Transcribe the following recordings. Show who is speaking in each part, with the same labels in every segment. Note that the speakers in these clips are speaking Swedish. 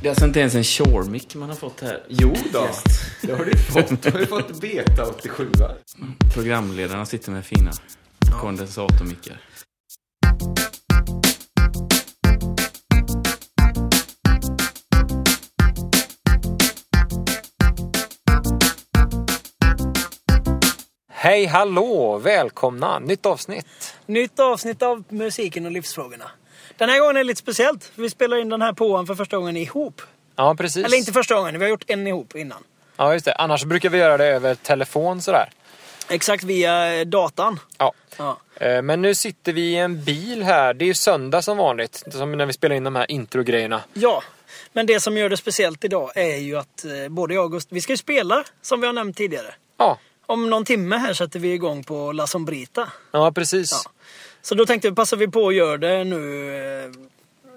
Speaker 1: Det är alltså inte ens en Shore-mick man har fått här.
Speaker 2: Jo då, det har du fått. Du har ju fått beta 87
Speaker 1: Programledarna sitter med fina kondensatormickar.
Speaker 3: Hej, hallå, välkomna! Nytt avsnitt.
Speaker 4: Nytt avsnitt av Musiken och livsfrågorna. Den här gången är det lite speciellt. för Vi spelar in den här påan för första gången ihop.
Speaker 3: Ja, precis.
Speaker 4: Eller inte första gången, vi har gjort en ihop innan.
Speaker 3: Ja, just det. Annars brukar vi göra det över telefon sådär.
Speaker 4: Exakt via eh, datan.
Speaker 3: Ja.
Speaker 4: Ja.
Speaker 3: Eh, Men nu sitter vi i en bil här. Det är ju söndag som vanligt, som när vi spelar in de här introgrejerna.
Speaker 4: ja. Men det som gör det speciellt idag är ju att eh, både jag och Gust- vi ska ju spela som vi har nämnt tidigare.
Speaker 3: Ja,
Speaker 4: Om någon timme här sätter vi igång på La Sombrita.
Speaker 3: ja precis.
Speaker 4: Ja. Så då tänkte vi, passar vi på att göra det nu eh,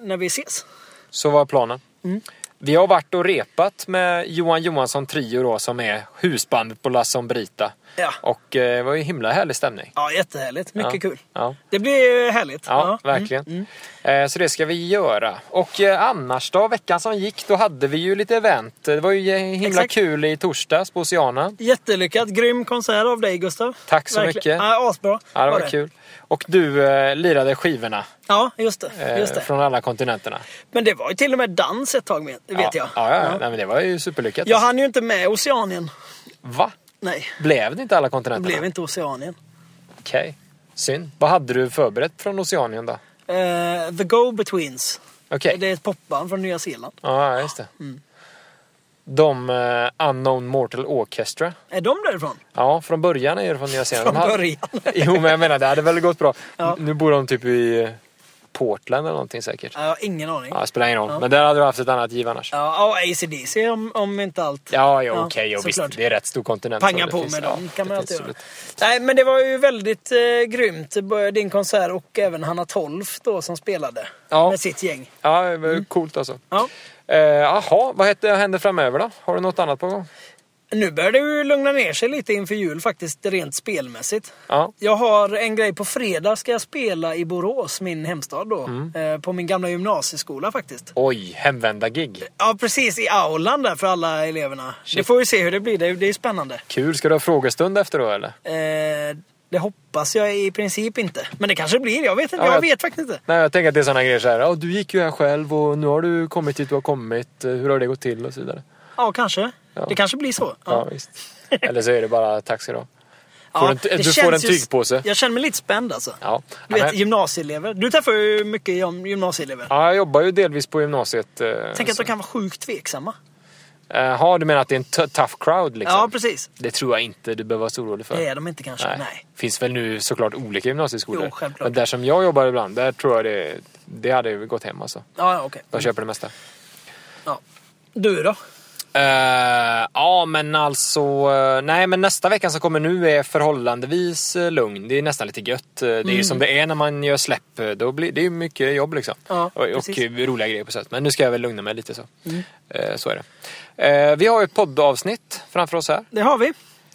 Speaker 4: när vi ses.
Speaker 3: Så var planen.
Speaker 4: Mm.
Speaker 3: Vi har varit och repat med Johan Johansson Trio då, som är husbandet på La Sombrita.
Speaker 4: Ja.
Speaker 3: Och eh, det var ju himla härlig stämning.
Speaker 4: Ja, jättehärligt. Mycket
Speaker 3: Ja.
Speaker 4: kul.
Speaker 3: Ja.
Speaker 4: Det blir eh, härligt.
Speaker 3: Ja,
Speaker 4: Ja. mm.
Speaker 3: verkligen. Eh, Så det ska vi göra. Och eh, annars då, veckan som gick, då hade vi ju lite event. Det var ju eh, himla
Speaker 4: Exakt.
Speaker 3: kul i torsdags på Oceana.
Speaker 4: Jättelyckad, grym konsert av dig Gustav.
Speaker 3: Tack så mycket.
Speaker 4: Ja, asbra.
Speaker 3: Ja, det var kul. Och du eh, lirade skivorna
Speaker 4: Ja, just det.
Speaker 3: eh,
Speaker 4: Just det.
Speaker 3: från alla kontinenterna.
Speaker 4: Men det var ju till och med dans ett tag med, vet
Speaker 3: ja.
Speaker 4: jag.
Speaker 3: Ja, ja. Nej, men det var ju superlyckat.
Speaker 4: Jag hann ju inte med Oceanien.
Speaker 3: Va?
Speaker 4: Nej,
Speaker 3: Blev det inte alla
Speaker 4: det
Speaker 3: kontinenterna?
Speaker 4: blev inte Oceanien.
Speaker 3: Okej. Synd. Vad hade du förberett från Oceanien då?
Speaker 4: Eh, The Go-Betweens.
Speaker 3: Okej.
Speaker 4: Det Mm. är ett popband från Nya Zeeland.
Speaker 3: Ja, just det. De eh, Unknown Mortal Orchestra.
Speaker 4: Är de därifrån?
Speaker 3: Ja, från början är det från Nya Zeeland.
Speaker 4: Från
Speaker 3: De hade-
Speaker 4: början.
Speaker 3: Jo, men jag menar det hade väl gått bra.
Speaker 4: Ja.
Speaker 3: Nu bor de typ i eh, Portland eller någonting säkert.
Speaker 4: Ja, Jag har ingen aning.
Speaker 3: Ja,
Speaker 4: Ja,
Speaker 3: det spelar ingen roll. Men där hade du haft ett annat giv annars. Ja,
Speaker 4: ja och ACDC om, om inte allt.
Speaker 3: ja, jo,
Speaker 4: Ja,
Speaker 3: okej. jo, visst,
Speaker 4: såklart.
Speaker 3: det är rätt stor kontinent. så
Speaker 4: Panga
Speaker 3: det
Speaker 4: på
Speaker 3: finns-
Speaker 4: med
Speaker 3: ja,
Speaker 4: dem kan
Speaker 3: det
Speaker 4: man
Speaker 3: finns
Speaker 4: alltid göra.
Speaker 3: absolut.
Speaker 4: Nej, men det var ju väldigt eh, grymt. Både Din konsert och även Hanna Tolf då som spelade
Speaker 3: Ja.
Speaker 4: med sitt gäng.
Speaker 3: Ja, det var ju coolt alltså.
Speaker 4: Mm. Ja.
Speaker 3: Eh, Jaha, vad hette- händer framöver då? Har du något annat på gång?
Speaker 4: Nu börjar det ju lugna ner sig lite inför jul faktiskt, rent spelmässigt.
Speaker 3: Ja,
Speaker 4: Jag har en grej på fredag ska jag spela i Borås, min hemstad då.
Speaker 3: Mm.
Speaker 4: Eh, På min gamla gymnasieskola faktiskt.
Speaker 3: oj, hemvända-gig.
Speaker 4: Ja precis, i aulan där för alla eleverna. Det får vi se hur det blir, det det är ju spännande.
Speaker 3: Kul. Ska du ha frågestund efter då eller?
Speaker 4: Eh, Det hoppas jag i princip inte. Men det kanske blir, jag vet inte.
Speaker 3: Ja, jag-
Speaker 4: Jag vet faktiskt inte.
Speaker 3: Nej, jag tänker att det är sådana grejer så här. Ja, du gick ju här själv och nu har du kommit dit du har kommit. Eh, Hur har det gått till och så vidare.
Speaker 4: Ja, kanske. Det kanske blir så.
Speaker 3: Ja, visst. Eller så är det bara tack ska du ha.
Speaker 4: Ja,
Speaker 3: Får du en ty-
Speaker 4: det
Speaker 3: du får
Speaker 4: känns
Speaker 3: en
Speaker 4: ju-
Speaker 3: tygpåse.
Speaker 4: Jag känner mig lite spänd alltså.
Speaker 3: Ja.
Speaker 4: Du vet,
Speaker 3: men-
Speaker 4: gymnasieelever. Du träffar ju mycket gym- gymnasieelever.
Speaker 3: ja, jag jobbar ju delvis på gymnasiet. eh,
Speaker 4: Tänk att
Speaker 3: så-
Speaker 4: de kan vara sjukt tveksamma.
Speaker 3: Eh, Ja, du menar att det är en t- tough crowd liksom?
Speaker 4: Ja, precis.
Speaker 3: Det tror jag inte du behöver vara så orolig för.
Speaker 4: Det är de inte kanske. Nej.
Speaker 3: Finns väl nu såklart olika gymnasieskolor.
Speaker 4: Jo, självklart.
Speaker 3: Men där som jag jobbar ibland, där tror jag det, det hade ju gått hem alltså.
Speaker 4: Ja, ja, okej.
Speaker 3: De köper det mesta.
Speaker 4: Ja. Du då?
Speaker 3: Eh, ja, men alltså... eh, nej, men nästa vecka som kommer nu är förhållandevis eh, lugn. Det är nästan lite gött. Eh, det är
Speaker 4: Mm.
Speaker 3: ju som det är när man gör släpp. eh, Då blir, det är ju mycket jobb liksom.
Speaker 4: Ja,
Speaker 3: och, och
Speaker 4: precis. Mm.
Speaker 3: eh, roliga grejer på sätt. Men nu ska jag väl lugna mig lite så. Eh, så är det. Eh, vi har ju ett poddavsnitt framför oss här.
Speaker 4: Det har vi.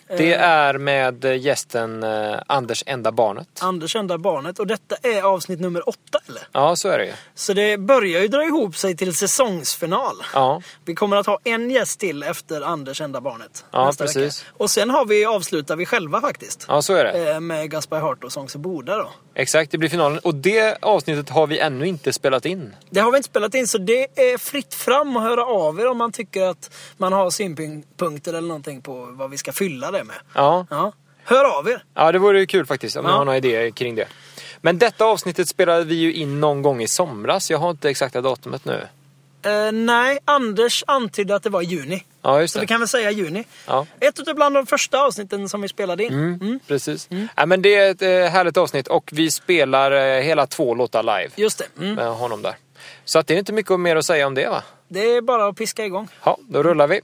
Speaker 4: Eh.
Speaker 3: Det är med eh, gästen eh, Anders Enda Barnet.
Speaker 4: Anders Enda Barnet. Och detta är avsnitt nummer åtta eller?
Speaker 3: Ja, så är det ju.
Speaker 4: Så det börjar ju dra ihop sig till säsongsfinal.
Speaker 3: Ja.
Speaker 4: Vi kommer att ha en gäst till efter Anders Enda Barnet.
Speaker 3: Ja,
Speaker 4: nästa
Speaker 3: precis.
Speaker 4: Vecka. Och sen har vi, avslutar vi själva faktiskt.
Speaker 3: ja, så är det.
Speaker 4: Eh, Med Gaspar Hart och Songs Boda då.
Speaker 3: Exakt, det blir finalen. Och det avsnittet har vi ännu inte spelat in.
Speaker 4: Det har vi inte spelat in så det är fritt fram att höra av er om man tycker att man har synpunkter eller någonting på vad vi ska fylla det med.
Speaker 3: Ja,
Speaker 4: Ja. Hör av er!
Speaker 3: ja det vore ju kul faktiskt om ni
Speaker 4: Ja.
Speaker 3: har några idéer kring det. Men detta avsnittet spelade vi ju in någon gång i somras. Jag har inte exakta datumet nu.
Speaker 4: Eh, nej, Anders antydde att det var i juni.
Speaker 3: Ja, just
Speaker 4: Så
Speaker 3: det.
Speaker 4: vi kan väl säga juni.
Speaker 3: Ja.
Speaker 4: Ett av bland de första avsnitten som vi spelade in. Mm.
Speaker 3: Precis. Ja, men det är ett eh, härligt avsnitt och vi spelar eh, hela två låtar live
Speaker 4: Just det. Mm.
Speaker 3: med honom där. Så att det är inte mycket mer att säga om det va?
Speaker 4: Det är bara att piska igång.
Speaker 3: Ja, då rullar vi.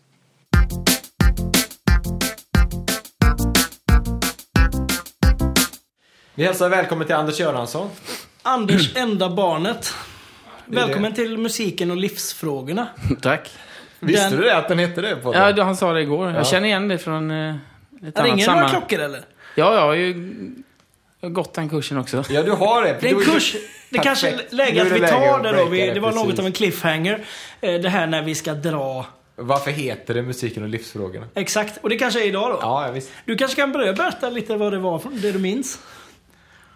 Speaker 3: Vi hälsar välkommen till Anders Göransson.
Speaker 4: Anders, enda barnet.
Speaker 2: är
Speaker 4: Välkommen till musiken och livsfrågorna.
Speaker 1: Tack.
Speaker 2: Visste
Speaker 4: Den-
Speaker 2: du det, att den hette det? På
Speaker 1: Ja, det- han sa det igår. Jag känner igen det från eh, ett annat
Speaker 4: Ringer några
Speaker 1: sammanhang.
Speaker 4: klockor eller?
Speaker 1: Ja, jag har ju Jag har gått den kursen också.
Speaker 2: Ja, du har det.
Speaker 4: Det är en
Speaker 2: Du- du-
Speaker 4: kurs. Det
Speaker 2: Perfekt.
Speaker 4: kanske är läge
Speaker 2: Nu
Speaker 4: att
Speaker 2: är
Speaker 4: vi
Speaker 2: läge
Speaker 4: tar
Speaker 2: att
Speaker 4: det då.
Speaker 2: breaka
Speaker 4: Vi,
Speaker 2: det,
Speaker 4: det var något
Speaker 2: precis.
Speaker 4: av en cliffhanger. eh, Det här när vi ska dra.
Speaker 2: Varför heter det Musiken och livsfrågorna?
Speaker 4: Exakt. Och det kanske är idag då.
Speaker 2: Ja, ja, visst.
Speaker 4: Du kanske kan börja berätta lite vad det var, för- det du minns?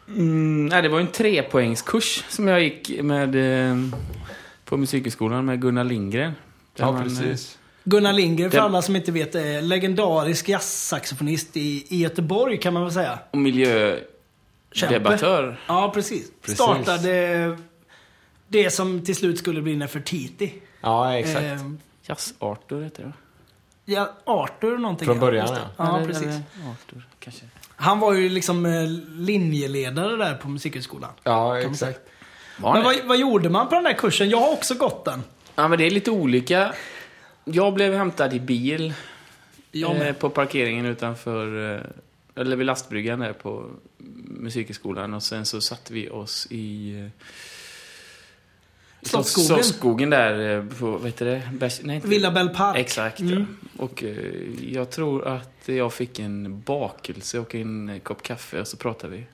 Speaker 1: Mm, nej, det var ju en trepoängskurs som jag gick med, eh, på Musikhögskolan med Gunnar Lindgren. Där
Speaker 2: Ja,
Speaker 1: man, eh,
Speaker 2: precis.
Speaker 4: Gunnar Lindgren, för
Speaker 1: Det-
Speaker 4: alla som inte vet, är legendarisk jazzsaxofonist i, i Göteborg kan man väl säga.
Speaker 1: Och miljödebattör.
Speaker 4: Ja, precis.
Speaker 2: Precis.
Speaker 4: Startade eh, det som till slut skulle bli Nefertiti.
Speaker 2: Ja, exakt.
Speaker 4: Eh,
Speaker 1: Jazz-Arthur heter det va?
Speaker 4: ja, Arthur någonting.
Speaker 2: Från
Speaker 4: ja.
Speaker 2: början,
Speaker 4: Just det.
Speaker 2: ja.
Speaker 4: Ja,
Speaker 1: Eller-
Speaker 4: precis.
Speaker 1: eller Arthur, kanske.
Speaker 4: Han var ju liksom eh, linjeledare där på Musikhögskolan.
Speaker 2: Ja,
Speaker 4: man
Speaker 2: exakt.
Speaker 1: Var
Speaker 4: Men
Speaker 1: han det?
Speaker 4: vad, vad gjorde man på den där kursen? Jag har också gått den.
Speaker 1: Ja, men det är lite olika. Jag blev hämtad i bil
Speaker 4: Jag
Speaker 1: eh,
Speaker 4: med.
Speaker 1: på parkeringen utanför, eh, eller vid lastbryggan där på Musikhögskolan. Och sen så satte vi oss i eh,
Speaker 4: Slottsskogen.
Speaker 1: Slottsskogen där, eh, på, vad heter det? Bärs, nej, inte-
Speaker 4: Villa Bell Park.
Speaker 1: Exakt.
Speaker 4: Mm.
Speaker 1: Ja. Och eh, jag tror att jag fick en bakelse och en kopp kaffe och så pratade vi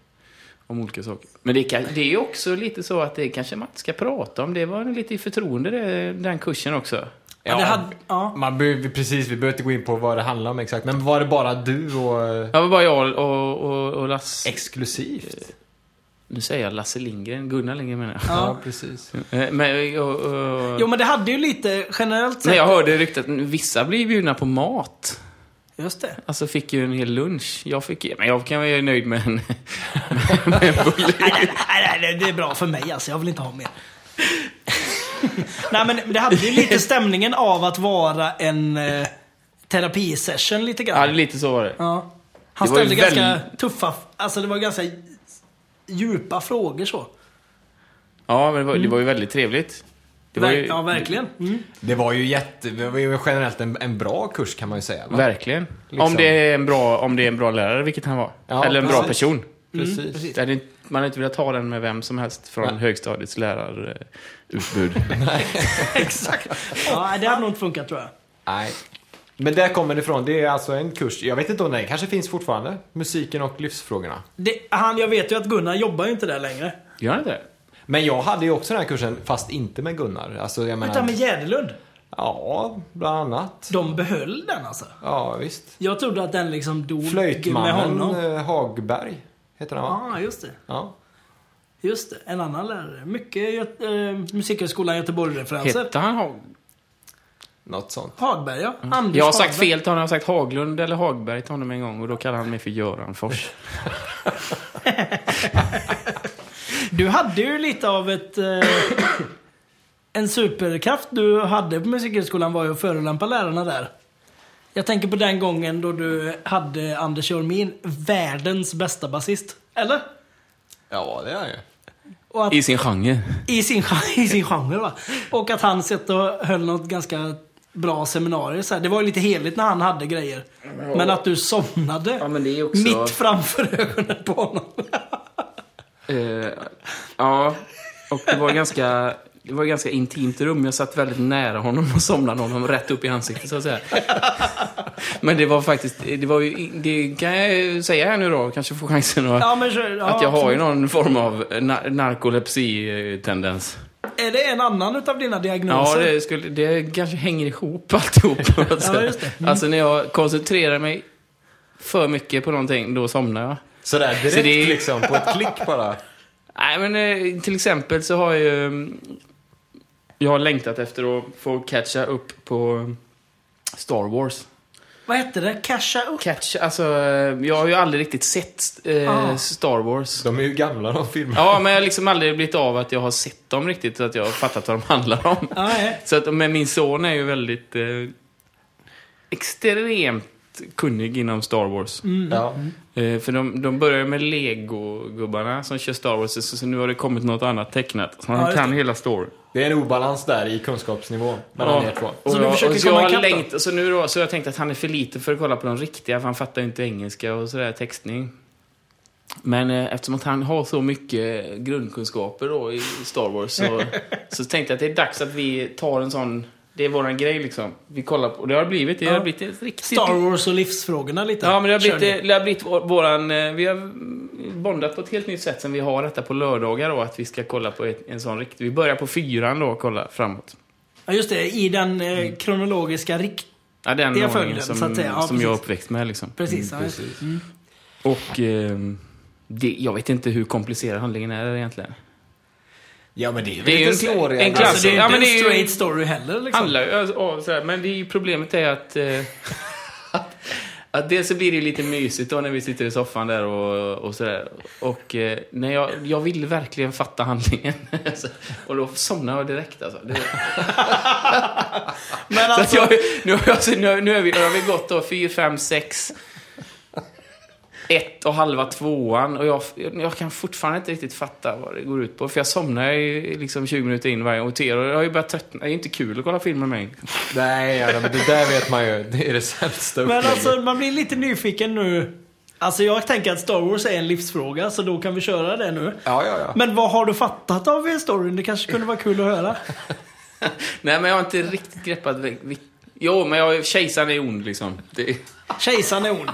Speaker 1: om olika saker. Men det, kan, det är ju också lite så att det kanske man inte ska prata om. Det var lite i förtroende det, den kursen också.
Speaker 4: Ja, det hade, ja.
Speaker 2: Man be, vi- precis, vi behöver inte gå in på vad det handlar om exakt. Men var det bara du och... eh,
Speaker 1: Det var bara jag och, och, och Lasse...
Speaker 4: Eh.
Speaker 2: Exklusivt?
Speaker 1: Nu säger jag Lasse Lindgren. Gunnar Lindgren menar jag.
Speaker 4: Ja.
Speaker 2: precis.
Speaker 1: Eh, Men, och, och,
Speaker 4: Jo men det hade ju lite generellt
Speaker 1: när
Speaker 4: sett.
Speaker 1: jag hörde ryktet, vissa blir bjudna på mat.
Speaker 4: Just det.
Speaker 1: Alltså fick ju en hel lunch. Jag fick, men jag kan vara nöjd med en, med en bulle.
Speaker 4: Nej, nej, nej, nej, det är bra för mig alltså. Jag vill inte ha mer. nej men det hade ju lite stämningen av att vara en eh, terapisession lite
Speaker 1: Ja, det är
Speaker 4: grann.
Speaker 1: lite så var det.
Speaker 4: Ja. Han
Speaker 1: Det var ju
Speaker 4: ställde ganska
Speaker 1: väldigt-
Speaker 4: tuffa, alltså det var ganska djupa frågor så.
Speaker 1: Ja, men det var, det var ju väldigt trevligt. Det var
Speaker 4: Ver-
Speaker 1: ju,
Speaker 4: ja, verkligen. Mm.
Speaker 2: Det var ju jätte... Det var ju generellt en, en bra kurs kan man ju säga. Va?
Speaker 4: Mm,
Speaker 1: Verkligen.
Speaker 2: Liksom.
Speaker 1: Om, det är en bra, om det är en bra lärare, vilket han var.
Speaker 2: Ja,
Speaker 1: Eller en bra
Speaker 2: precis.
Speaker 1: person.
Speaker 2: Precis.
Speaker 1: Det hade inte- Man hade inte velat ta den med vem som helst från
Speaker 2: Nej.
Speaker 1: högstadiets lärarutbud.
Speaker 4: Exakt. Ja, det hade nog inte funkat tror jag.
Speaker 2: Nej. Men där kommer det ifrån. Det är alltså en kurs. Jag vet inte om den kanske finns fortfarande. Musiken och livsfrågorna.
Speaker 4: Det, han, jag vet ju att Gunnar jobbar ju inte där längre.
Speaker 1: Gör han inte det?
Speaker 2: Men jag hade ju också den här kursen, fast inte med Gunnar. Alltså, jag menar...
Speaker 4: Utan med Jäderlund.
Speaker 2: Ja, bland annat.
Speaker 4: De behöll den alltså.
Speaker 2: Ja, visst.
Speaker 4: Jag trodde att den liksom dog med
Speaker 2: Flöjtmannen
Speaker 4: honom.
Speaker 2: eh, Hagberg heter han va?
Speaker 4: Ja, ah, just det.
Speaker 2: Ja.
Speaker 4: Just det. En annan lärare. Mycket Gö- eh, Musikhögskolan Göteborg-referenser.
Speaker 1: Hette han Hag...
Speaker 2: Något sånt.
Speaker 4: Hagberg ja. Anders
Speaker 1: Mm. Jag har sagt
Speaker 4: Hagberg.
Speaker 1: fel till honom. Jag har sagt Haglund eller Hagberg till honom en gång och då kallade han mig för Göran Fors.
Speaker 4: Du hade ju lite av ett... Eh, en superkraft du hade på Musikhögskolan var ju att förolämpa lärarna där. Jag tänker på den gången då du hade Anders Jormin, världens bästa basist. Eller?
Speaker 2: Ja, det är han ju.
Speaker 4: Och att
Speaker 1: I sin genre.
Speaker 4: I sin, gen- i sin genre va. Och att han satt och höll något ganska bra seminarium. Så här. Det var ju lite heligt när han hade grejer. Men att du somnade
Speaker 1: Ja, men det är också-
Speaker 4: mitt framför ögonen på honom.
Speaker 1: Eh, ja, och det var ganska... Det var ett ganska intimt rum. Jag satt väldigt nära honom och somnade honom rätt upp i ansiktet så att säga. Men det var faktiskt, det var ju, det kan jag ju säga här nu då, kanske får chansen att,
Speaker 4: Ja, men, så- ja,
Speaker 1: att jag har ju
Speaker 4: absolut.
Speaker 1: någon form av na- narkolepsi-tendens.
Speaker 4: Är det en annan utav dina
Speaker 1: Ja,
Speaker 4: diagnoser?
Speaker 1: det, skulle, det kanske hänger ihop alltihop. Alltså,
Speaker 4: just det. Mm.
Speaker 1: alltså när jag koncentrerar mig för mycket på någonting, då somnar jag.
Speaker 2: Sådär direkt
Speaker 1: Så det är-
Speaker 2: liksom, på ett klick bara.
Speaker 1: Nej, men eh, till exempel så har jag ju... mm, Jag har längtat efter att få catcha upp på mm, Star Wars.
Speaker 4: Vad hette det? Casha upp?
Speaker 1: Catch, alltså, eh, jag har ju aldrig riktigt sett eh,
Speaker 4: Ah.
Speaker 1: Star Wars.
Speaker 2: De är ju gamla de filmerna.
Speaker 1: Ja, men jag har liksom aldrig blivit av att jag har sett dem riktigt, så att jag har fattat vad de handlar om.
Speaker 4: Ja, nej.
Speaker 1: Så att, men min son är ju väldigt... Eh, extremt kunnig inom Star Wars.
Speaker 4: Mm.
Speaker 2: Ja.
Speaker 1: Eh, för de, de börjar med Lego-gubbarna som kör Star Wars, så, så nu har det kommit något annat tecknat. Så han
Speaker 4: Ja, just
Speaker 1: kan hela storyn.
Speaker 2: Det är en obalans där i kunskapsnivån mellan er två.
Speaker 1: Och
Speaker 4: Så du
Speaker 1: jag-
Speaker 4: försöker
Speaker 1: och så
Speaker 4: komma
Speaker 1: jag har
Speaker 4: ikapp då?
Speaker 1: längt, så nu då, så jag tänkte att han är för liten för att kolla på de riktiga, för han fattar ju inte engelska och sådär textning. Men eh, eftersom att han har så mycket grundkunskaper då i Star Wars så, så tänkte jag att det är dags att vi tar en sån, det är våran grej liksom. Vi kollar på, och det har blivit, det har
Speaker 4: Ja.
Speaker 1: blivit ett riktigt...
Speaker 4: Star Wars och livsfrågorna lite.
Speaker 1: Ja men det har
Speaker 4: Kör
Speaker 1: blivit,
Speaker 4: ni.
Speaker 1: det har blivit vår- våran, eh, vi har mm, bondat på ett helt nytt sätt sen vi har detta på lördagar då, att vi ska kolla på ett, en sån riktig. Vi börjar på fyran då och kollar framåt.
Speaker 4: Ja, just det. I den eh, kronologiska rikt...
Speaker 1: Ja, den
Speaker 4: Det är
Speaker 1: ordningen
Speaker 4: följden,
Speaker 1: som,
Speaker 4: så att säga. Ja,
Speaker 1: som jag är
Speaker 4: precis.
Speaker 1: uppväxt med liksom.
Speaker 4: Precis. ja, just det. Mm.
Speaker 1: Och ehm, det, jag vet inte hur komplicerad handlingen är egentligen.
Speaker 2: Ja, men det är
Speaker 1: Det är ju en-
Speaker 2: lite klåriga-
Speaker 1: en klass-
Speaker 4: Alltså, det är ju
Speaker 1: Ja,
Speaker 4: inte
Speaker 1: men
Speaker 4: en
Speaker 1: det är ju-
Speaker 4: straight story heller liksom.
Speaker 1: Handlar ju alltså om så här, men det är ju problemet är att, eh, att dels så blir det ju lite mysigt då när vi sitter i soffan där och, och sådär. Och eh, när jag, jag vill verkligen fatta handlingen. Alltså, och då somnar jag direkt alltså. Det,
Speaker 4: Men
Speaker 1: så att
Speaker 4: alltså,
Speaker 1: jag, nu, har jag- nu, nu har vi, nu har vi gått då 4, 5, 6. Ett och halva tvåan och jag, jag kan fortfarande inte riktigt fatta vad det går ut på. För jag somnar ju liksom 20 minuter in varje gång och ter- och jag har ju börjat tröttna. Det är ju inte kul att kolla film med mig.
Speaker 2: Nej, ja, men det där vet man ju. Det är det sämsta
Speaker 4: men
Speaker 2: upplägget.
Speaker 4: alltså, man blir lite nyfiken nu. Alltså jag tänker att Star Wars är en livsfråga, så då kan vi köra det nu.
Speaker 2: Ja, ja, ja.
Speaker 4: Men vad har du fattat av storyn? Det kanske kunde vara kul att höra.
Speaker 1: Nej, men jag har inte riktigt greppat vil- vil- Jo, men jag, kejsaren är ond liksom. Det,
Speaker 4: Kejsaren är ond.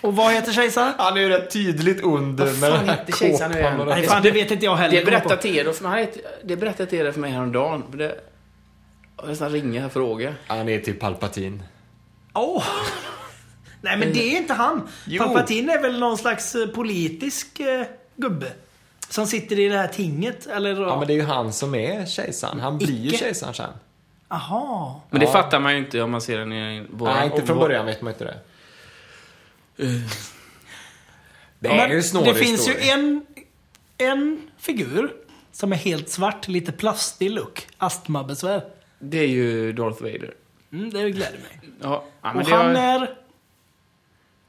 Speaker 4: Och vad heter kejsaren?
Speaker 2: Han är ju rätt tydligt under med
Speaker 1: fan
Speaker 2: den här
Speaker 1: heter kejsaren nu
Speaker 2: kåpan
Speaker 1: igen?
Speaker 2: och den-
Speaker 4: Nej fan, det vet inte jag heller.
Speaker 1: det berättade Theodor för mig, det berättade Theodor för mig häromdagen. Det, jag nästan ringer och fråga.
Speaker 2: Han är typ Palpatin.
Speaker 4: Åh! Nej men det är inte han.
Speaker 2: Jo.
Speaker 4: Palpatine är väl någon slags eh, politisk eh, gubbe. Som sitter i det här tinget, eller?
Speaker 2: Ja, men det är ju han som är kejsaren. Han blir ju
Speaker 4: Icke.
Speaker 2: kejsaren sen.
Speaker 4: Aha.
Speaker 1: Men det
Speaker 2: Ja.
Speaker 1: fattar man ju inte om man ser den i våran...
Speaker 2: Nej, inte
Speaker 1: och
Speaker 2: från
Speaker 1: vår-
Speaker 2: början vet man inte det. Det
Speaker 4: Eh. Men
Speaker 2: är ju en
Speaker 4: Det
Speaker 2: snårig
Speaker 4: finns
Speaker 2: story.
Speaker 4: ju en, en figur som är helt svart, lite plastig look. Astmabesvär.
Speaker 1: Det är ju Darth Vader.
Speaker 4: Mm, det gläder mig.
Speaker 1: Ja, ja, men
Speaker 4: Och
Speaker 1: det
Speaker 4: han eh,
Speaker 1: har-
Speaker 4: är...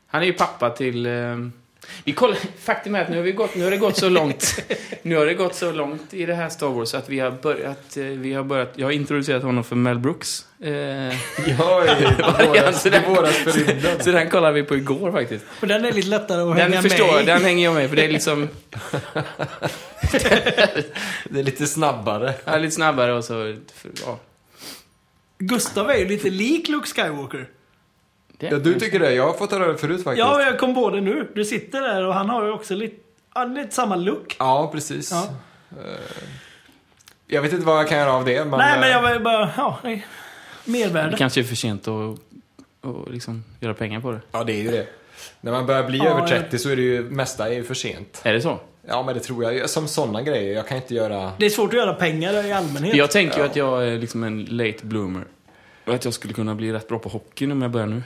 Speaker 1: Han är ju pappa till... Eh, vi kollar, faktum är att nu har, vi gått, nu har det gått så långt. nu har det gått så långt i det här Star Wars att vi har börjat... Eh, vi har börjat jag har introducerat honom för Mel Brooks. Eh,
Speaker 2: Ja, i- i våras- i våras för rymden.
Speaker 1: så den kollade vi på igår faktiskt.
Speaker 4: Och den är lite lättare att hänga
Speaker 1: Den förstår jag,
Speaker 4: med i.
Speaker 1: den hänger jag med för det är liksom...
Speaker 2: Det är lite snabbare.
Speaker 1: Ja, lite snabbare och så... för- Ja.
Speaker 4: Gustav är ju lite lik Luke Skywalker.
Speaker 1: Det-
Speaker 2: Ja, du tycker det. Jag har fått höra det förut faktiskt.
Speaker 4: Ja, jag kom på det nu. Du sitter där och han har ju också lite, ja, lite samma look.
Speaker 2: Ja, precis.
Speaker 4: Ja.
Speaker 2: Eh, Jag vet inte vad jag kan göra av det, men...
Speaker 4: Nej, men
Speaker 2: eh,
Speaker 4: jag var ju bara... Ja, nej.
Speaker 1: Det
Speaker 4: mervärde.
Speaker 1: kanske är för sent att att liksom göra pengar på det.
Speaker 2: Ja, det är ju det. När man börjar bli
Speaker 4: Ja,
Speaker 2: över
Speaker 4: jag-
Speaker 2: 30 så är det ju mesta är ju för sent.
Speaker 1: Är det så?
Speaker 2: Ja, men det tror jag. Som sådana grejer. Jag kan inte göra...
Speaker 4: Det är svårt att göra pengar i allmänhet.
Speaker 1: Jag tänker ju att jag är liksom en late bloomer. Och att jag skulle kunna bli rätt bra på hockeyn om jag börjar nu.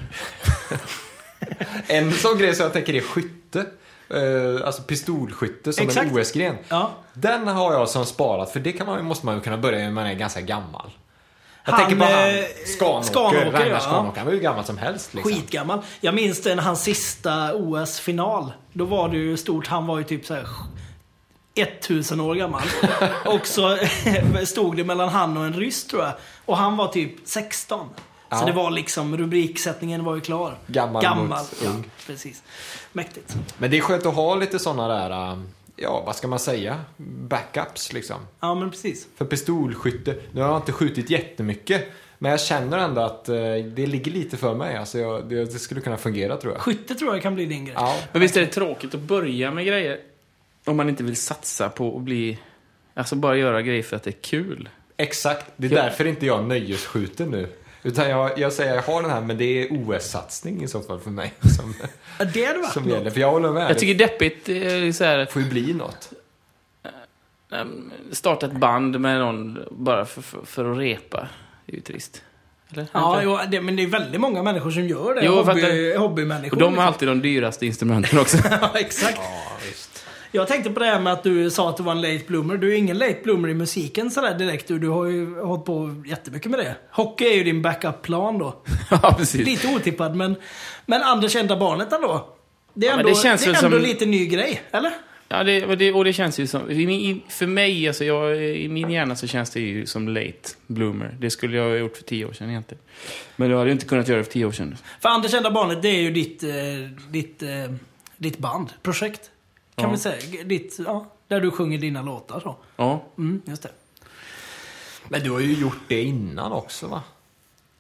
Speaker 2: En sån grej som jag tänker är skytte. Eh, alltså pistolskytte som
Speaker 4: Exakt.
Speaker 2: en OS-gren.
Speaker 4: Ja.
Speaker 2: Den har jag som sparat, för det kan man, måste man ju kunna börja med när man är ganska gammal. Jag
Speaker 4: Han,
Speaker 2: tänker på
Speaker 4: eh,
Speaker 2: han Skanåker,
Speaker 4: Skanåker,
Speaker 2: Ragnar
Speaker 4: ja.
Speaker 2: Skanåker. Han var ju gammal som helst liksom.
Speaker 4: Skitgammal. Jag minns den, hans sista OS-final. Då var det ju stort, han var ju typ så här 1000 år gammal. och så stod det mellan han och en ryss tror jag. Och han var typ 16. Så
Speaker 2: Ja.
Speaker 4: det var liksom, rubriksättningen var ju klar.
Speaker 2: Gammal
Speaker 4: Gammal,
Speaker 2: mot
Speaker 4: ja,
Speaker 2: ung.
Speaker 4: precis. Mäktigt.
Speaker 2: Men det är skönt att ha lite sådana där, eh, ja vad ska man säga, backups liksom.
Speaker 4: Ja, men precis.
Speaker 2: För pistolskytte, nu har jag inte skjutit jättemycket. Men jag känner ändå att eh, det ligger lite för mig. Alltså jag, det, det skulle kunna fungera tror jag.
Speaker 4: Skytte tror jag kan bli din grej.
Speaker 2: Ja,
Speaker 1: Men visst är det tråkigt att börja med grejer? Om man inte vill satsa på att bli... Alltså bara göra grejer för att det är kul.
Speaker 2: exakt. Det är
Speaker 1: Ja.
Speaker 2: därför inte jag nöjesskjuter nu. Utan jag, jag säger jag har den här, men det är OS-satsning i så fall för mig. Som,
Speaker 4: Ja, Det hade varit
Speaker 2: som
Speaker 4: något.
Speaker 2: gäller. För jag håller med.
Speaker 1: Jag tycker deppigt eh, så här,
Speaker 2: Det får ju bli något.
Speaker 1: ehm, starta ett band med någon bara för, för, för att repa. Det är ju trist. Eller?
Speaker 4: Ja, jo, det, men det är väldigt många människor som gör det.
Speaker 1: Jo, jag
Speaker 4: Hobby,
Speaker 1: fattar.
Speaker 4: hobbymänniskor.
Speaker 1: Och de har alltid de dyraste instrumenten också.
Speaker 4: Ja, exakt. Jag tänkte på det här med att du sa att du var en late bloomer. Du är ingen late bloomer i musiken sådär direkt. Du, du har ju hållit på jättemycket med det. Hockey är ju din backup-plan då.
Speaker 1: ja, precis.
Speaker 4: Lite otippad, men, men Anders enda barnet ändå. Det är
Speaker 1: Ja, men
Speaker 4: ändå,
Speaker 1: det känns
Speaker 4: det är
Speaker 1: väl
Speaker 4: ändå
Speaker 1: som-
Speaker 4: lite ny grej, eller?
Speaker 1: Ja, det, och, det, och det känns ju som... i min- För mig, alltså jag, i min hjärna så känns det ju som late bloomer. Det skulle jag ha gjort för tio år sedan egentligen. Men jag hade ju inte kunnat göra det för tio år sedan.
Speaker 4: För Anders enda barnet, det är ju ditt, eh, ditt, eh, ditt band, projekt. Kan
Speaker 1: Ja.
Speaker 4: vi säga. Ditt, ja, där du sjunger dina låtar så.
Speaker 1: Ja.
Speaker 4: Mm, just det.
Speaker 2: Men du har ju gjort det innan också va?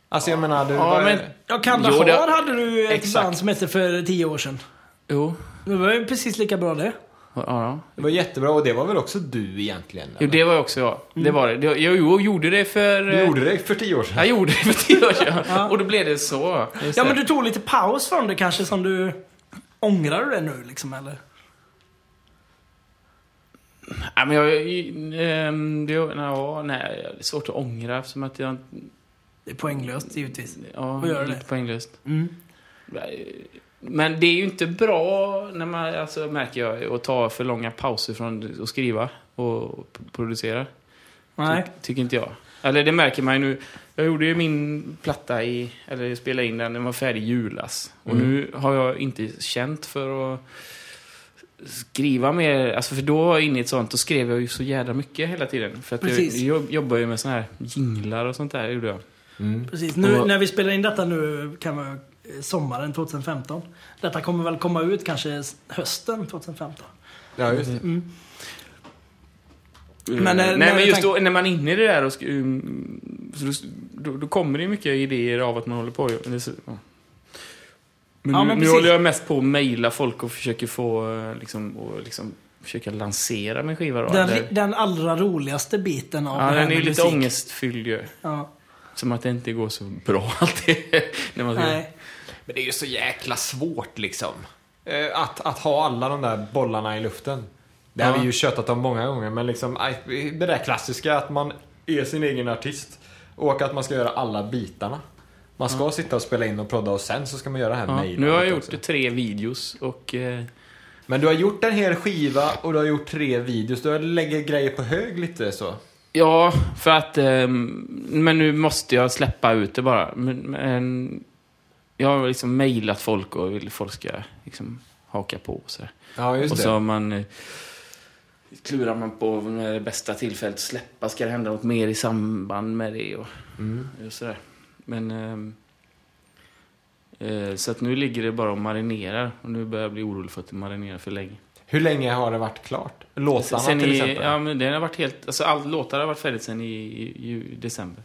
Speaker 2: Alltså jag menar, du
Speaker 1: Ja,
Speaker 2: var-
Speaker 1: men-
Speaker 4: Ja, Kanda
Speaker 1: Jo, det-
Speaker 4: Har hade du ett
Speaker 2: Exakt.
Speaker 4: band som hette för tio år sedan.
Speaker 1: Jo,
Speaker 4: Det var ju precis lika bra det.
Speaker 1: ja. ja.
Speaker 2: Det var jättebra och det var väl också du egentligen?
Speaker 1: Jo,
Speaker 2: eller?
Speaker 1: det var jag också jag. Det var det. Jag, jag, jag gjorde det för...
Speaker 2: Du
Speaker 1: eh,
Speaker 2: gjorde det för tio år sedan.
Speaker 1: Jag gjorde det för tio år sedan. Och då blev det så. Just
Speaker 4: Ja
Speaker 1: det.
Speaker 4: men du tog lite paus från det kanske som du... Ångrar du det nu liksom eller?
Speaker 1: Nej, men jag... ehm, det, ja, nej, det är svårt att ångra eftersom att jag...
Speaker 4: Det är poänglöst givetvis.
Speaker 1: Ja,
Speaker 4: Vad gör det?
Speaker 1: lite poänglöst.
Speaker 2: Mm.
Speaker 1: Men det är ju inte bra, när man, alltså, märker jag, att ta för långa pauser från att skriva och p- producera.
Speaker 4: Nej.
Speaker 2: Typ.
Speaker 1: Ty, tycker inte jag. Eller det märker man ju nu. Jag gjorde ju min platta i, eller jag spelade in den, den var färdig i julas. Och
Speaker 4: Mm.
Speaker 1: nu har jag inte känt för att skriva mer. Alltså för då var jag inne i ett sånt, då skrev jag ju så jävla mycket hela tiden. För att jag,
Speaker 4: Precis.
Speaker 1: jag jobbar ju med såna här jinglar och sånt där, gjorde jag.
Speaker 2: Mm.
Speaker 4: Precis. Nu,
Speaker 1: Och-
Speaker 4: När vi spelar in detta nu kan vara eh, sommaren 2015. Detta kommer väl komma ut kanske s- hösten 2015.
Speaker 2: Ja, just det.
Speaker 4: Mm. Men, eh,
Speaker 1: Mm. Nej,
Speaker 4: när
Speaker 1: men
Speaker 4: du
Speaker 1: just
Speaker 4: tänk-
Speaker 1: då, när man är inne i det där och sk- um, så då- då, då kommer det ju mycket idéer av att man håller på och, eller så, ja. Men,
Speaker 4: Ja,
Speaker 1: nu,
Speaker 4: men
Speaker 1: nu
Speaker 4: precis.
Speaker 1: håller jag mest på att mejla folk och försöker få eh, liksom, och liksom försöka lansera min skiva då.
Speaker 4: Den,
Speaker 1: eller-
Speaker 4: ri- den allra roligaste biten av
Speaker 1: ja,
Speaker 4: det här
Speaker 1: den är ju
Speaker 4: med
Speaker 1: lite
Speaker 4: musik.
Speaker 1: ångestfylld ju.
Speaker 4: Ja.
Speaker 1: Som att det inte går så bra alltid. när man ska-
Speaker 4: Nej.
Speaker 2: Men det är ju så jäkla svårt liksom. Eh, Att, att ha alla de där bollarna i luften. Det har
Speaker 1: Ja.
Speaker 2: vi ju tjötat om många gånger, men liksom aj, det där klassiska att man är sin egen artist. Och att man ska göra alla bitarna. Man ska sitta och spela in och prodda och sen så ska man göra det här
Speaker 1: Ja,
Speaker 2: mejlandet
Speaker 1: nu har jag
Speaker 2: också.
Speaker 1: gjort tre videos och... Eh,
Speaker 2: Men du har gjort en hel skiva och du har gjort tre videos. Du har- lägger grejer på hög lite så.
Speaker 1: Ja, för att... ehm, men nu måste jag släppa ut det bara. Men, men, jag har liksom mejlat folk och vill folk ska liksom haka på och sådär.
Speaker 2: Ja, just
Speaker 1: Och
Speaker 2: det.
Speaker 1: så har man... eh, Klurar man på när det bästa tillfället att släppa. Ska det hända något mer i samband med det och, och sådär. Men... ehm, eh, så att nu ligger det bara och marinerar. Och nu börjar jag bli orolig för att det marinerar för länge.
Speaker 2: Hur länge har det varit klart? Låtarna
Speaker 1: Sen
Speaker 2: till
Speaker 1: i,
Speaker 2: exempel?
Speaker 1: ja, men det har varit helt... Alltså, all, låtar har varit färdigt sen i, i, i december.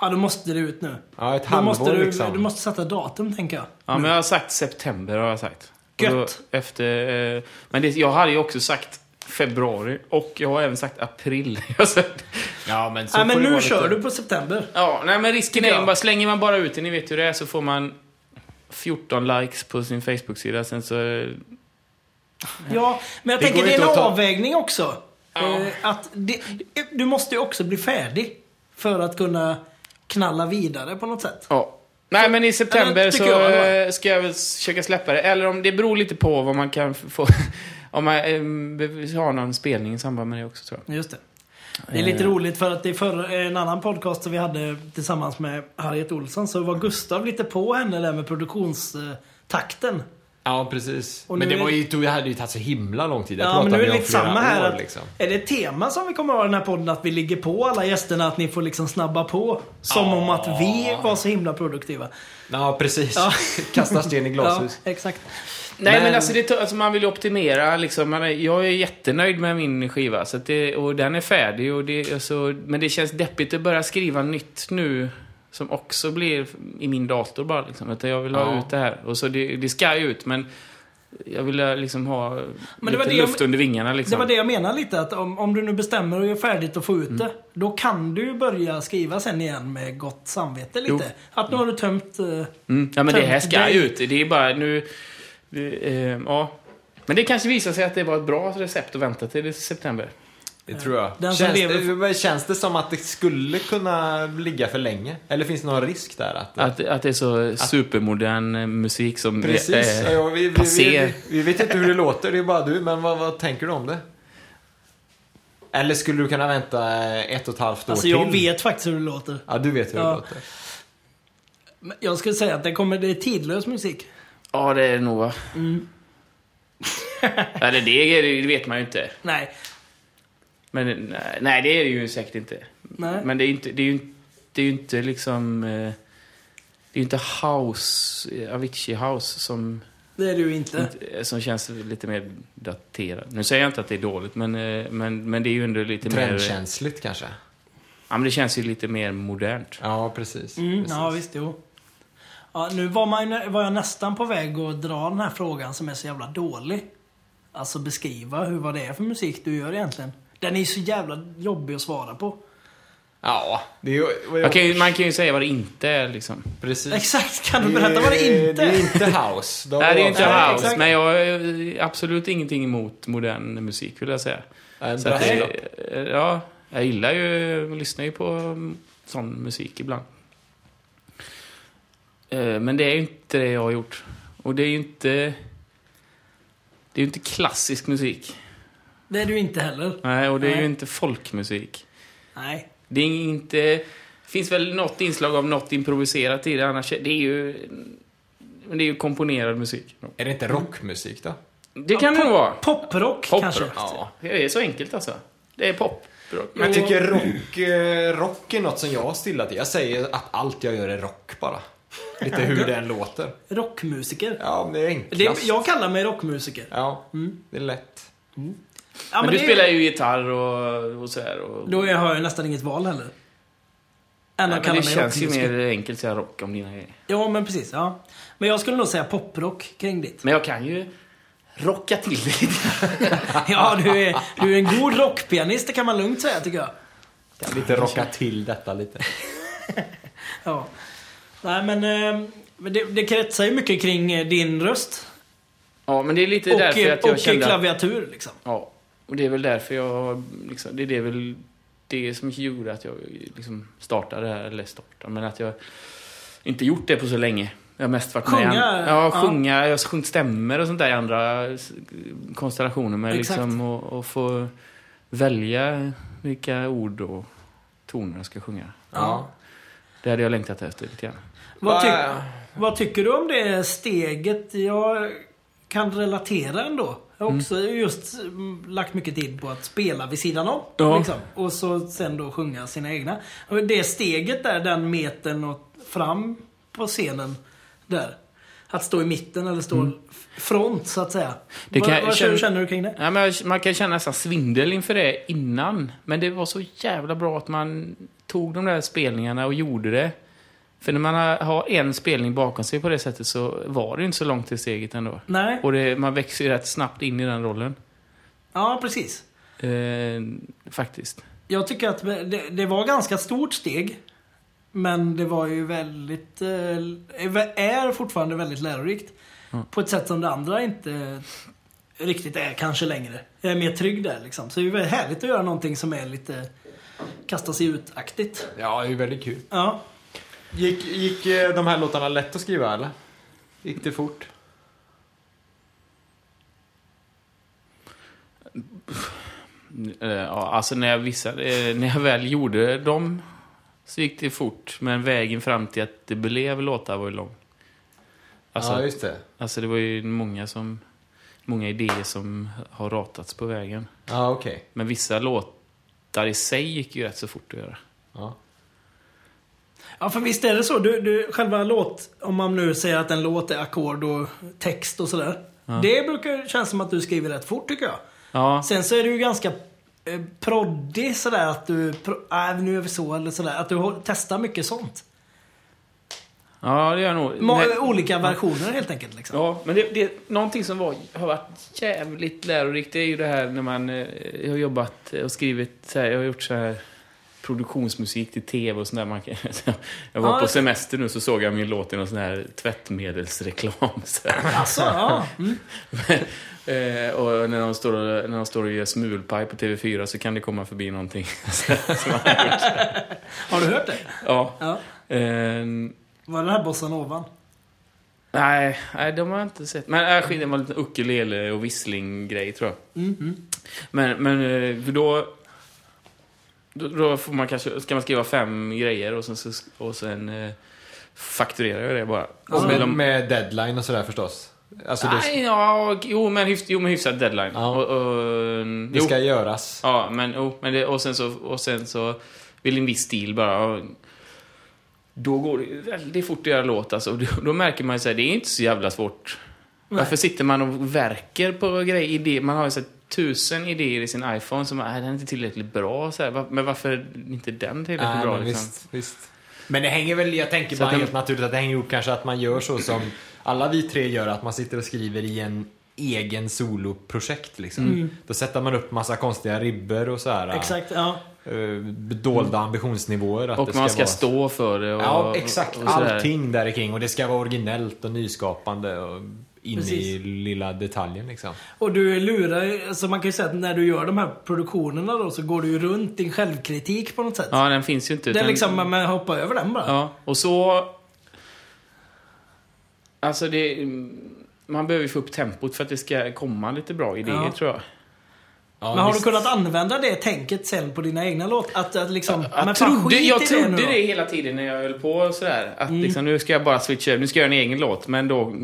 Speaker 4: ja, då måste det ut nu.
Speaker 2: Ja, ett
Speaker 4: Då
Speaker 2: halvår
Speaker 4: måste du,
Speaker 2: liksom.
Speaker 4: du måste sätta datum tänker jag.
Speaker 1: Ja, men jag har sagt september har jag sagt. Och då
Speaker 4: Gött.
Speaker 1: Efter, eh, men det, jag hade ju också sagt februari och jag har även sagt april. Jag har sagt-
Speaker 2: Ja, men så
Speaker 4: Nej,
Speaker 2: får
Speaker 4: men
Speaker 2: det
Speaker 4: nu
Speaker 2: vara
Speaker 4: kör
Speaker 2: lite...
Speaker 4: du på september.
Speaker 1: ja, nej, men risken
Speaker 4: Tycker
Speaker 1: är
Speaker 4: jag.
Speaker 1: ju bara, slänger man bara ut det, ni vet hur det är, så får man 14 likes på sin Facebook-sida. Sen så... eh,
Speaker 4: Ja, men jag
Speaker 2: Det
Speaker 4: tänker
Speaker 2: går
Speaker 4: det är
Speaker 2: inte
Speaker 4: en
Speaker 2: att ta-
Speaker 4: avvägning också. Eh, Att det, du måste ju också bli färdig för att kunna knalla vidare på något sätt.
Speaker 1: Ja. Nej, men i september
Speaker 4: men
Speaker 1: så
Speaker 4: tycker jag ändå.
Speaker 1: eh, ska jag väl försöka släppa det. Eller om det beror lite på vad man kan få... Om man eh, har någon spelning i samband med det också, tror jag.
Speaker 4: Just det. Det är lite
Speaker 2: Eh.
Speaker 4: roligt för att det är för en annan podcast som vi hade tillsammans med Harriet Olsson så var Gustav lite på henne där med produktionstakten.
Speaker 2: Ja, precis.
Speaker 4: Och
Speaker 2: men
Speaker 4: nu
Speaker 2: det var
Speaker 4: är-
Speaker 2: ju, det hade ju tagit så himla lång tid. Jag
Speaker 4: Ja, men nu
Speaker 2: pratade
Speaker 4: är det
Speaker 2: om
Speaker 4: lite
Speaker 2: flera
Speaker 4: samma här.
Speaker 2: år,
Speaker 4: att,
Speaker 2: liksom.
Speaker 4: Är det ett tema som vi kommer ha i den här podden att vi ligger på alla gästerna att ni får liksom snabba på? Som om att vi var så himla produktiva.
Speaker 2: Ja, precis.
Speaker 4: Ja.
Speaker 2: Kasta sten i glashus.
Speaker 4: Ja, exakt.
Speaker 1: Nej men,
Speaker 2: Men-
Speaker 1: alltså, det, alltså man vill ju optimera liksom. Man är, jag är jättenöjd med min skiva så att det, och den är färdig. Och det, alltså, men det känns deppigt att börja skriva nytt nu. Som också blir i min dator bara liksom. Att jag vill ha
Speaker 2: Ja.
Speaker 1: ut det här. Och så det, det ska ut men jag vill eh, liksom ha
Speaker 4: var
Speaker 1: lite
Speaker 4: det jag-
Speaker 1: luft under vingarna liksom.
Speaker 4: Det var det jag menar lite att om, om du nu bestämmer och gör färdigt och får ut det. Då kan du ju börja skriva sen igen med gott samvete lite.
Speaker 1: Jo.
Speaker 4: Att nu har du tömt... eh,
Speaker 1: Mm. Ja men det här
Speaker 4: Tömt
Speaker 1: ska
Speaker 4: dig.
Speaker 1: ut. Det är bara nu... Det, eh, ja. Men det kanske visar sig att det var ett bra recept att vänta till september.
Speaker 2: Det tror jag.
Speaker 4: Den som
Speaker 2: känns,
Speaker 4: lever-
Speaker 2: det, men känns det som att det skulle kunna ligga för länge? Eller finns det någon risk där? Att,
Speaker 1: Att, att det är så supermodern eh, musik som...
Speaker 2: precis.
Speaker 1: eh,
Speaker 2: Ja, ja, vi, vi, vi,
Speaker 1: passé.
Speaker 2: vi, vi vet inte hur det låter, det är bara du. Men vad, vad tänker du om det? Eller skulle du kunna vänta ett och ett halvt år
Speaker 4: Alltså
Speaker 2: till?
Speaker 4: jag vet faktiskt hur det låter.
Speaker 2: Ja, du vet hur
Speaker 4: Ja.
Speaker 2: det låter.
Speaker 4: Men Jag skulle säga att det kommer, det är tidlös musik.
Speaker 1: Ja, det är det nog va?
Speaker 2: Mm.
Speaker 1: Eller det, är- det vet man ju inte.
Speaker 4: Nej.
Speaker 1: Men nej, nej, det är det ju säkert inte.
Speaker 4: Nej.
Speaker 1: Men det är ju inte, det är ju, inte- det är ju inte liksom... eh, Det är ju inte house, eh, Avicii house som,
Speaker 4: Det är det ju inte.
Speaker 1: inte- eh, som känns lite mer daterat. Nu säger jag inte att det är dåligt, men, eh, men, men det är ju ändå lite mer...
Speaker 2: Trendkänsligt kanske?
Speaker 1: Ja, men det känns ju lite mer modernt.
Speaker 2: Ja, precis.
Speaker 4: Mm,
Speaker 2: precis.
Speaker 4: ja visst, jo. Ja, nu var, man, ju- var jag nästan på väg att dra den här frågan som är så jävla dålig. Alltså beskriva hur, vad det är för musik du gör egentligen. Den är ju så jävla jobbig att svara på.
Speaker 2: Ja, det är ju... vad jag-
Speaker 1: Man kan, ju, man kan ju säga vad det inte är liksom.
Speaker 2: Precis.
Speaker 4: Exakt, kan du berätta vad det inte
Speaker 2: Eh, Det är
Speaker 4: är?
Speaker 2: inte house. De
Speaker 1: Nej, det är inte
Speaker 2: var-
Speaker 4: Nej,
Speaker 1: house,
Speaker 4: exakt.
Speaker 1: men jag har absolut ingenting emot modern musik vill jag säga.
Speaker 2: Nej,
Speaker 1: Så att,
Speaker 2: brass-
Speaker 1: eh, ja, jag gillar ju, lyssnar ju på mm, sån musik ibland. Eh, Men det är ju inte det jag har gjort. Och det är ju inte... Det är ju inte klassisk musik.
Speaker 4: Det är du inte heller.
Speaker 1: Nej, och det är
Speaker 4: Nej.
Speaker 1: ju inte folkmusik.
Speaker 4: Nej.
Speaker 1: Det är inte... Det finns väl något inslag av något improviserat i det, annars... är- Det är ju... men Det är ju komponerad musik.
Speaker 2: Är det inte rockmusik då?
Speaker 1: Det kan det nog vara.
Speaker 4: Poprock
Speaker 1: Poprock,
Speaker 4: kanske.
Speaker 2: Ja.
Speaker 1: Det är så enkelt alltså. Det är poprock.
Speaker 2: Men jag tycker rock, eh, rock är något som jag har stillat i. Jag säger att allt jag gör är rock bara. Lite hur den låter.
Speaker 4: Rockmusiker.
Speaker 2: Ja, men det är enklast.
Speaker 4: Det, jag kallar mig rockmusiker.
Speaker 2: Ja, det är lätt.
Speaker 4: Ja,
Speaker 1: men, du
Speaker 4: det-
Speaker 1: spelar ju gitarr och, och sådär. Och,
Speaker 4: Då har jag nästan inget val heller. Än
Speaker 1: nej,
Speaker 4: att
Speaker 1: men
Speaker 4: kalla
Speaker 1: det
Speaker 4: mig
Speaker 1: känns ju
Speaker 4: rockmusiker.
Speaker 1: mer enkelt att säga rock om dina grejer.
Speaker 4: Ja, men precis. Ja. Men jag skulle nog säga poprock kring ditt.
Speaker 1: Men jag kan ju rocka till det lite.
Speaker 4: Ja, du är, du är en god rockpianist, det kan man lugnt säga tycker jag.
Speaker 2: Kan lite rocka till detta lite.
Speaker 4: Ja. Nej, men eh, men det, det kretsar ju mycket kring eh, din röst.
Speaker 1: Ja, men det är lite
Speaker 4: och
Speaker 1: därför att jag
Speaker 4: och
Speaker 1: kände att,
Speaker 4: klaviatur liksom.
Speaker 1: Ja, och det är väl därför jag liksom, det, är det väl det som gjorde att jag liksom startade det här, eller startade, men att jag inte gjort det på så länge. Jag har mest varit med i
Speaker 4: Sjunga,
Speaker 1: an- Ja,
Speaker 4: ja.
Speaker 1: sjunga. Jag har sjungit stämmer och sånt där i andra s- konstellationer. Men
Speaker 4: Exakt.
Speaker 1: liksom och, och få välja vilka ord och toner jag ska sjunga.
Speaker 2: Ja.
Speaker 1: Det hade jag längtat efter lite grann.
Speaker 4: Vad, tyck-
Speaker 2: Va-
Speaker 4: vad tycker du om det steget? Jag kan relatera ändå. Jag har också just mm, lagt mycket tid på att spela vid sidan om.
Speaker 1: Ja.
Speaker 4: Liksom. Och så sen då sjunga sina egna. Och det steget där, den metern och fram på scenen. Där. Att stå i mitten eller stå f- front så att säga.
Speaker 1: Mm. Det kan-
Speaker 4: vad vad
Speaker 1: känn-
Speaker 4: känner, känner du kring det?
Speaker 1: Ja, men jag- man kan känna nästan svindel inför det innan. Men det var så jävla bra att man tog de där spelningarna och gjorde det. För när man har- har en spelning bakom sig på det sättet så var det ju inte så långt till steget ändå.
Speaker 4: Nej?
Speaker 1: Och det, man växer ju rätt snabbt in i den rollen.
Speaker 4: Ja, precis.
Speaker 1: Eh, faktiskt.
Speaker 4: Jag tycker att det, det var ganska stort steg. Men det var ju väldigt, eh, är fortfarande väldigt lärorikt. På ett sätt som det andra inte riktigt är kanske längre. Jag är mer trygg där liksom. Så det är väldigt härligt att göra någonting som är lite kasta sig ut-aktigt.
Speaker 2: Ja, det är väldigt kul.
Speaker 4: Ja.
Speaker 2: Gick, gick eh, de här låtarna lätt att skriva eller? Gick det fort?
Speaker 1: Eh, ja, alltså när jag, visade, eh, när jag väl gjorde dem så gick det fort. Men vägen fram till att det blev låtar var ju lång. Alltså,
Speaker 2: ja, just det.
Speaker 1: Alltså det var ju många som... Många idéer som har ratats på vägen.
Speaker 2: Ja, okej.
Speaker 1: Men vissa låtar i sig gick ju rätt så fort att göra.
Speaker 2: Ja.
Speaker 4: ja, för visst är det så. Du, du, själva låt, om man nu säger att en låt är ackord och text och sådär. Det brukar kännas som att du skriver rätt fort tycker jag.
Speaker 1: Ja,
Speaker 4: Sen så är du ju ganska eh, proddig sådär att du, pro, äh, nu gör vi så eller sådär. Att du hå- testar mycket sånt.
Speaker 1: ja det gör jag nog.
Speaker 4: Ma-
Speaker 1: Nej.
Speaker 4: olika versioner helt enkelt. Liksom.
Speaker 1: Ja, men det, det, någonting som var, har varit jävligt lärorikt det är ju det här när man eh, jag har jobbat och skrivit så här, jag har gjort så här produktionsmusik till tv och sånt där. Man kan, jag var
Speaker 4: Ja,
Speaker 1: på
Speaker 4: det-
Speaker 1: semester nu så såg jag min låt i någon sån här tvättmedelsreklam. Så här.
Speaker 4: Alltså, ja. Mm.
Speaker 1: Eh, och när de, står och, när de står och gör smulpaj på TV4 så kan det komma förbi någonting.
Speaker 4: Har du hört det?
Speaker 1: ja.
Speaker 4: Ja.
Speaker 1: Eh,
Speaker 4: Var det den här bossanovan?
Speaker 1: nej, nej, de har jag inte sett. Men äh, skit, det var lite ukulele och vissling-grej tror jag.
Speaker 4: Mm,
Speaker 1: Men, men eh, för då... Då, då får man kanske, ska man skriva fem grejer och sen, så- och sen eh, fakturerar jag det bara. Och
Speaker 2: Och
Speaker 1: så
Speaker 2: med,
Speaker 1: vill de-
Speaker 2: med deadline och sådär förstås. Alltså det,
Speaker 1: Nej, ja, och- jo, men hyfs, jo, men hyfsad deadline.
Speaker 2: Ja.
Speaker 1: Och, och, mm,
Speaker 2: det
Speaker 1: jo.
Speaker 2: ska göras.
Speaker 1: Ja, men, oh, men det, och sen så, och sen så vill en viss stil bara... ja. Då går det ju väldigt fort att göra låt alltså. Då, då märker man ju såhär, det är inte så jävla svårt. Varför sitter man och verkar på grejer, idéer? Man har ju så här, tusen idéer i sin "Äh, iPhone som, nej, den är inte tillräckligt bra. Så här, va- men varför är inte den tillräckligt
Speaker 2: Nej,
Speaker 1: bra
Speaker 2: men
Speaker 1: liksom?
Speaker 2: visst, visst. Men det hänger väl, jag tänker
Speaker 1: Så
Speaker 2: bara
Speaker 1: att det-
Speaker 2: helt naturligt att det hänger ihop kanske att man gör så som alla vi tre gör, att man sitter och skriver i en egen soloprojekt liksom. Då sätter man upp massa konstiga ribbor och så här.
Speaker 4: Exakt, ja.
Speaker 2: eh, dolda ambitionsnivåer. Att
Speaker 1: Och
Speaker 2: det
Speaker 1: man ska
Speaker 2: vara...
Speaker 1: stå för det. Och,
Speaker 2: Ja, exakt.
Speaker 1: och sådär.
Speaker 2: Allting där är kring och det ska vara originellt och nyskapande och in i
Speaker 4: Precis.
Speaker 2: lilla detaljen liksom.
Speaker 4: Och du lurar ju- alltså man kan ju säga att när du gör de här produktionerna då så går du ju runt din självkritik på något sätt.
Speaker 1: Ja, den finns ju inte.
Speaker 4: det är
Speaker 1: utan-
Speaker 4: liksom, man hoppar över den bara.
Speaker 1: Ja, och så... Alltså det... Man behöver ju få upp tempot för att det ska komma lite bra idéer
Speaker 4: Ja.
Speaker 1: tror jag.
Speaker 2: Ja,
Speaker 4: Men har
Speaker 2: visst.
Speaker 4: du kunnat använda det tänket sen på dina egna låt? Att, att liksom, men
Speaker 1: Jag
Speaker 4: fan,
Speaker 1: trodde,
Speaker 4: skit i
Speaker 1: jag
Speaker 4: nu
Speaker 1: trodde
Speaker 4: då. Mm.
Speaker 1: det, hela tiden när jag höll på och sådär. Att liksom, nu ska jag bara switcha över, nu ska jag göra en egen låt. Men då,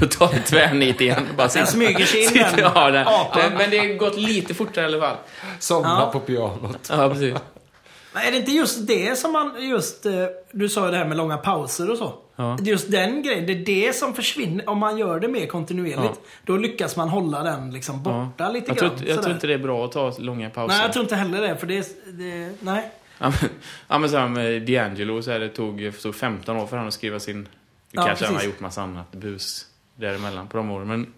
Speaker 1: då tar det tvärnit igen. Bara
Speaker 4: Den smyger sig in, den
Speaker 1: ja, den,
Speaker 4: apan.
Speaker 1: den, Men det har gått lite fortare i alla fall.
Speaker 2: Somna
Speaker 4: Ja.
Speaker 2: på pianot.
Speaker 1: Ja, precis.
Speaker 4: Men är det inte just det som man, just, eh, du sa ju det här med långa pauser och så.
Speaker 1: Ja.
Speaker 4: Det är Just den grejen, det är det som försvinner. Om man gör det mer kontinuerligt,
Speaker 1: Ja.
Speaker 4: då lyckas man hålla den liksom borta lite
Speaker 1: jag
Speaker 4: grann.
Speaker 1: tror, jag tror
Speaker 4: sådär.
Speaker 1: inte det är bra att ta långa pauser.
Speaker 4: Nej, jag tror inte heller det. För det, är- det nej.
Speaker 1: Ja men, ja, men så här med D'Angelo så här, det tog, tog 15 år för han att skriva sin...
Speaker 4: Ja,
Speaker 1: kanske han har
Speaker 4: precis.
Speaker 1: gjort massa annat bus däremellan på de åren. Men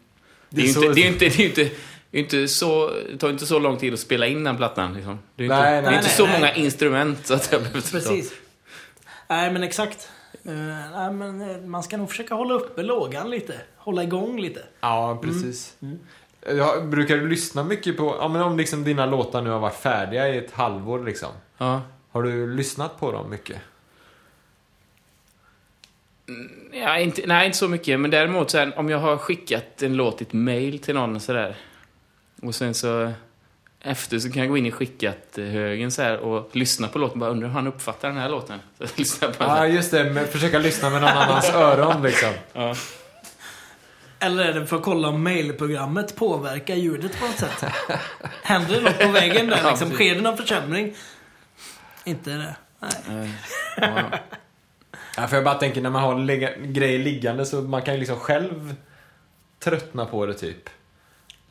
Speaker 1: det
Speaker 2: är
Speaker 1: är ju
Speaker 2: så-
Speaker 1: inte, det är ju inte, det är ju inte, det är inte så, det tar ju inte så lång tid att spela in den plattan. Liksom. Det är ju inte,
Speaker 2: Nej, nej,
Speaker 1: det är inte
Speaker 4: nej,
Speaker 1: så
Speaker 4: nej.
Speaker 1: många instrument så att jag behöver
Speaker 4: Precis. Nej, men exakt. Eh, nej, men eh, man ska nog försöka hålla uppe lågan lite. Hålla igång lite.
Speaker 2: Ja, precis.
Speaker 4: Mm.
Speaker 2: Ja, brukar du lyssna mycket på, ja, men om liksom dina låtar nu har varit färdiga i ett halvår liksom.
Speaker 1: Ja.
Speaker 2: Har du lyssnat på dem mycket?
Speaker 1: Ja, inte, nej, inte så mycket. Men däremot så här, om jag har skickat en låt i ett mail till någon sådär. Och sen så efter så kan jag gå in i skickat eh, högen så här och lyssna på låten. Bara undrar hur han uppfattar den här låten. Så jag lyssnar på den.
Speaker 2: Ja, just det. Men försöka lyssna med någon annans öron liksom.
Speaker 4: Eller är det för att kolla om mailprogrammet påverkar ljudet på något sätt? Händer det något på vägen där?
Speaker 1: Ja,
Speaker 4: Liksom,
Speaker 1: precis.
Speaker 4: sker det någon försämring? Inte det. Nej.
Speaker 1: Ja.
Speaker 2: Ja, för jag bara tänker när man har lega- grejer liggande så man kan ju liksom själv tröttna på det typ.